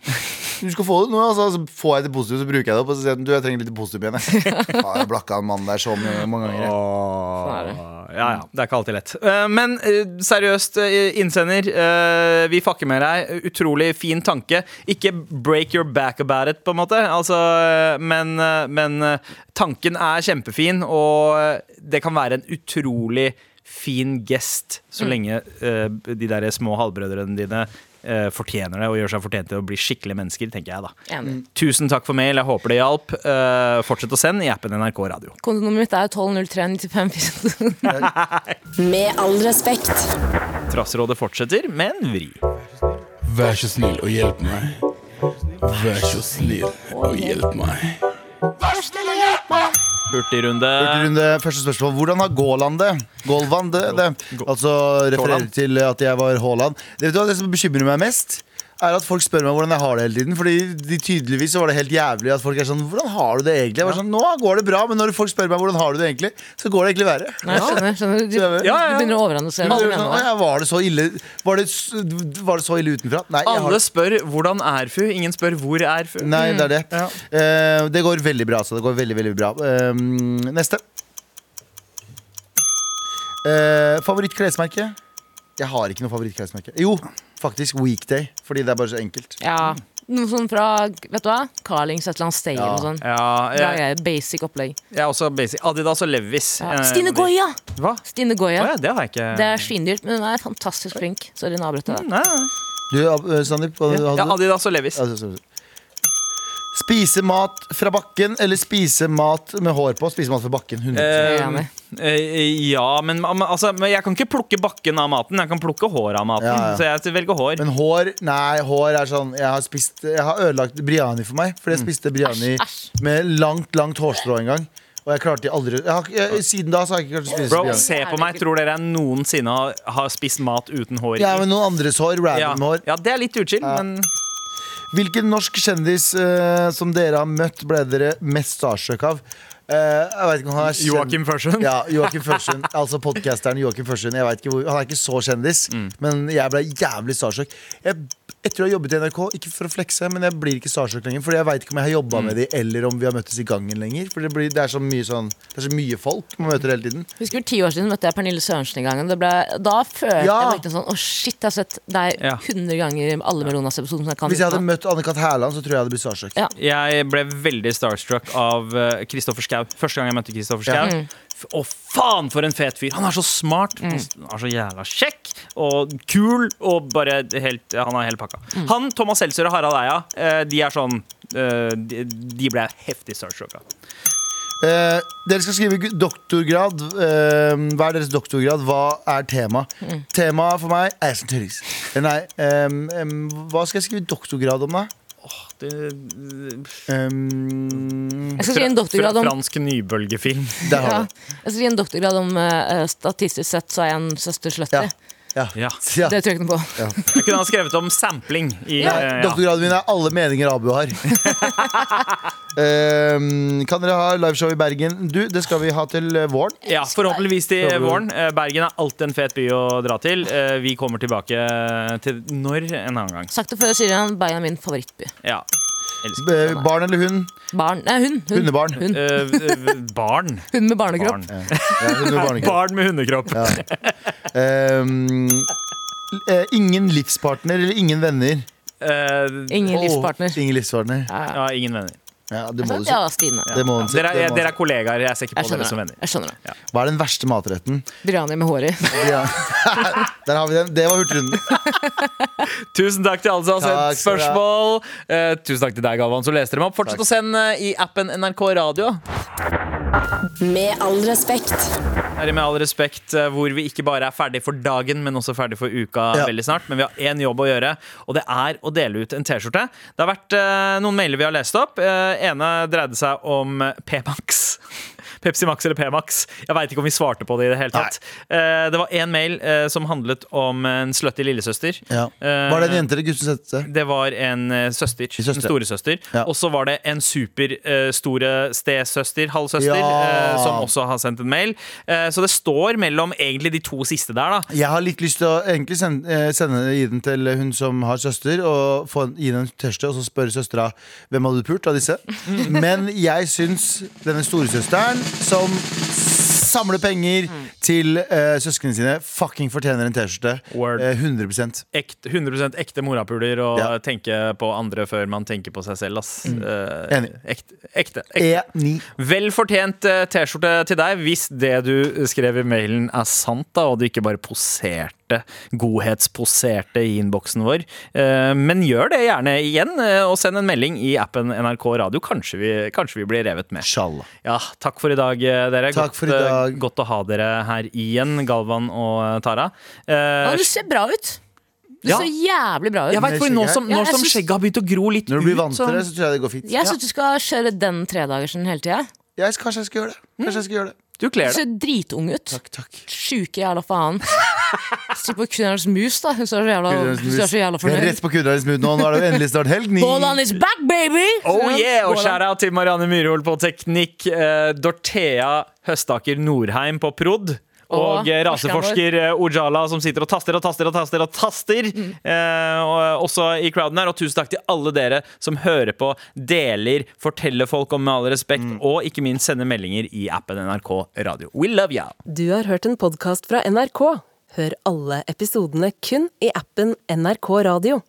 Du skal få det nå, altså. Så får jeg depositum, så bruker jeg det opp. Og så sier jeg du, jeg trenger litt depositum igjen. Jeg, ja, jeg blakka en mann der så mange, mange ganger. jeg. Åh, Sånn er det. Ah, Ja, ja, det er ikke alltid lett. Eh, Men eh, seriøst, eh, innsender, eh, vi fucker med deg. Utrolig fin tanke. Ikke break your back about it, på en måte. Altså, eh, men, eh, men eh, tanken er kjempefin, og eh, det kan være en utrolig fin Mm. gest så lenge eh, de der små halvbrødrene dine eh, fortjener det og gjør seg fortjent til å bli skikkelige mennesker, tenker jeg da. Enig. Tusen takk for mail, jeg håper det hjalp. Eh, Fortsett å sende i appen NRK Radio. Kontonummeret mitt er 120395. Med all respekt. Trassrådet fortsetter med en vri. Vær så snill og hjelp meg. Vær så snill og hjelp meg. Hurtigrunde. Hurtigrunde, første spørsmål. Hvordan har Gåland det? Gålvan det, det. Altså refererer Gåland. til at jeg var Haaland. Det, vet du, hva, det som bekymrer meg mest, er at folk spør meg hvordan jeg har det hele tiden. Fordi de tydeligvis så var det helt jævlig at folk er sånn Hvordan har du det egentlig? Jeg var sånn, Nå går det bra, men når folk spør meg hvordan har du det egentlig, så går det egentlig verre. Nei, skjønner, skjønner. Du, Ja, ja, ja. du begynner å overanalysere. hva Alle du er sånn, «Å mener. ja, var det så ille Var det, s- var det så ille utenfra? Nei, jeg har Alle spør 'hvordan er fu?' Ingen spør 'hvor er fu?' Nei, det er det. Eh, det går veldig bra, altså. Det går veldig, veldig bra. Eh, neste. Uh, Favorittklesmerke? Jeg har ikke noe favorittklesmerke. Jo, faktisk Weekday. Fordi det er bare så enkelt. Ja. Noe sånn fra vet du hva? Carlings, et eller annet sted. eller noe sånt. Ja, Det jeg, er basic opplegg. jeg er også basic. Adidas og Levis. Ja. Eh, Stine Goya! Hva? Stine Å Goya. ja, det har jeg ikke. Det er svindyrt, men hun er fantastisk flink. Sorry, nå avbrøt jeg deg. Nei, nei. Du, eh, Sandeep? Hva Ja, hadde du? Adidas og Levis. Altså, sorry. Spise mat fra bakken eller spise mat med hår på? Spise mat fra bakken. 100. Jeg er Eh, enig. eh, ja, men men, altså, men jeg kan ikke plukke bakken av maten. Jeg kan plukke håret av maten, Ja, ja. så jeg velger hår. Men hår Nei, hår er sånn Jeg har, spist, jeg har ødelagt biryani for meg. Fordi jeg Mm. spiste biryani med langt, langt hårstrå en gang. Og jeg klarte aldri jeg har, jeg, Siden da så har jeg ikke klart å spise Bro, biryani. se på meg. Tror dere jeg noensinne har, har spist mat uten hår? i? Ja, men noen andres hår. ja. Random hår. ja, det er litt uchill, men Hvilken norsk kjendis eh, som dere har møtt, ble dere mest starstruck av? Eh, jeg vet ikke om han er kjend- Joakim Førsund. Ja, Joakim Førsund, altså podcasteren Joakim Førsund. Jeg vet ikke hvor, han er ikke så kjendis, men jeg ble jævlig starstruck. Jeg, etter å ha jobbet i NRK, ikke for å flekse, men jeg blir ikke starstruck lenger. Fordi jeg vet ikke om jeg har jobba med de, eller om vi har møttes i gangen lenger. For det, blir, det, er så mye sånn, det er så mye folk man møter hele tiden. Husker du ti år siden møtte jeg Pernille Sørensen i gangen. Det ble, da følte Ja. jeg virkelig sånn Å, shit, jeg har sett deg Ja. 100 ganger i alle Melonas-episoder som jeg kan. Hvis jeg hadde utenat. møtt Anne-Kat. Hærland, så tror jeg jeg hadde blitt starstruck. Ja. Jeg ble veldig starstruck av eh, Kristoffer Schau. Første gang jeg møtte Kristoffer Schau. F- Å, faen, for en fet fyr! Han er så smart! Mm. Han er så jævla kjekk og kul og bare helt Han er hele pakka. Mm. Han, Thomas Seltzer og Harald Eia, eh, de er sånn eh, de, de ble jeg heftig starstruck av. Eh, dere skal skrive gu- doktorgrad. Eh, hva er deres doktorgrad? Hva er tema? Temaet for meg er som tørris. Eh, Nei, em, em, hva skal jeg skrive doktorgrad om, da? Det, eh, Em, Jeg skal skrive en doktorgrad om Fransk nybølgefilm. der ja. har du det. Jeg skal gi en doktorgrad om eh, statistisk sett så er jeg en søster slutty. Ja. Ja. Ja. Ja. Det tror jeg ikke noe på. Jeg kunne ha skrevet om sampling. I, Ja. eh, ja. Doktorgraden min er alle meninger Abu har. Em, kan dere ha liveshow i Bergen? Du, Det skal vi ha til eh, våren. Ja, forhåpentligvis til Forhåpentlig. våren. Eh, Bergen er alltid en fet by å dra til. Eh, Vi kommer tilbake til når en annen gang. Sagt det før, sier han. Bergen er min favorittby. Ja. Elsker. Eh, barn eller hund? Barn Nei, hun. Hun, Hundebarn. hun. Eh, eh, barn. hun med barnekropp. Barn. Ja, hund og barnekropp. barn med hundekropp. Em, l- eh, ingen livspartner eller ingen venner? Eh, Ingen Åh, livspartner. Altså, Ingen livspartner. ja, ingen venner. Ja, det må du si. Ja, Stine. Det må hun si. Dere, Det er, må hun dere er kollegaer. Jeg ser ikke Jeg på dere som skjønner det. venner. Jeg skjønner det. si. Hva er den verste matretten? Biryani med hår i. Ja. Der har vi den. Det var Hurtigrunden. Tusen takk til alle som har sendt Takk skal du ha. spørsmål. Eh, tusen takk til deg, Galvan, som leste dem opp. Fortsett Takk. å sende i appen NRK Radio. Med all respekt. her i Med all respekt, eh, hvor vi ikke bare er ferdig for dagen, men også ferdig for uka Ja. veldig snart. Men vi har én jobb å gjøre, og det er å dele ut en T-skjorte. Det har vært eh, noen mailer vi har lest opp. Eh, ene dreide seg om eh, P-Max. Pepsi Max eller P-Max. Jeg veit ikke om vi svarte på det i det hele tatt. Eh, det var én mail eh, som handlet om en slutty lillesøster. Ja. Eh, Var det en jente eller gutt som sette seg? det var en eh, søster. En storesøster. Ja. Og så var det en superstore stesøster, halvsøster, Ja. eh, som også har sendt en mail. Eh, så det står mellom egentlig de to siste der, da. Jeg har litt lyst til å egentlig sende, eh, sende gi den til hun som har søster, og få, gi den en T-skjorte, og så spørre søstera hvem hadde du pult av disse. Men jeg syns denne storesøsteren som samler penger til eh, søsknene sine, fucking fortjener en T-skjorte. Word. Eh, 100 Ekte, 100 ekte morapuler og Ja. Mm. tenke på andre før man tenker på seg selv, ass. Eh, Enig. Ekte. ekte, ekte. E9. Vel fortjent eh, T-skjorte til deg hvis det du skrev i mailen er sant, da, og du ikke bare poserte, godhetsposerte i innboksen vår. Eh, Men gjør det gjerne igjen, eh, og send en melding i appen NRK Radio. Kanskje vi, kanskje vi blir revet med. Inshallah. Ja, takk for i dag, eh, dere. Takk godt, for i eh, dag. godt å ha dere her igjen, Galvan og eh, Tara. Ja, Eh, du ser bra ut. Du Ja. ser jævlig bra Jeg ut. vet, for Nå som, Ja, nå jeg som syns- skjegget har begynt å gro litt Når du blir ut, vant til det, så tror jeg det går fint. Jeg syns du skal kjøre den tredagersen hele tida. Jeg- kanskje jeg skal gjøre det. Kanskje jeg skal gjøre det. du Du kler det. ser dritung ut. Takk, takk. Sjuke jævla faen. Se på Kunnarens mus, da. Hun ser så jævla, hun ser så jævla fornøyd. Rett på Kudrarens Mood nå. Nå er det jo endelig snart helg. Ni. Båland is back, baby! Oh Ja, yeah, Og Båland. shout-out til Marianne Myrhol på teknikk, eh, Dorthea Høstaker Norheim på prod. Og Og eh, raseforsker eh, Ojala som sitter og taster og taster og taster. og taster eh, og, Også i crowden her. Og tusen takk til alle dere som hører på, deler, forteller folk om Med all respekt, og ikke minst sender meldinger i appen NRK Radio. We love you! Du har hørt en podkast fra NRK. Hør alle episodene kun i appen NRK Radio.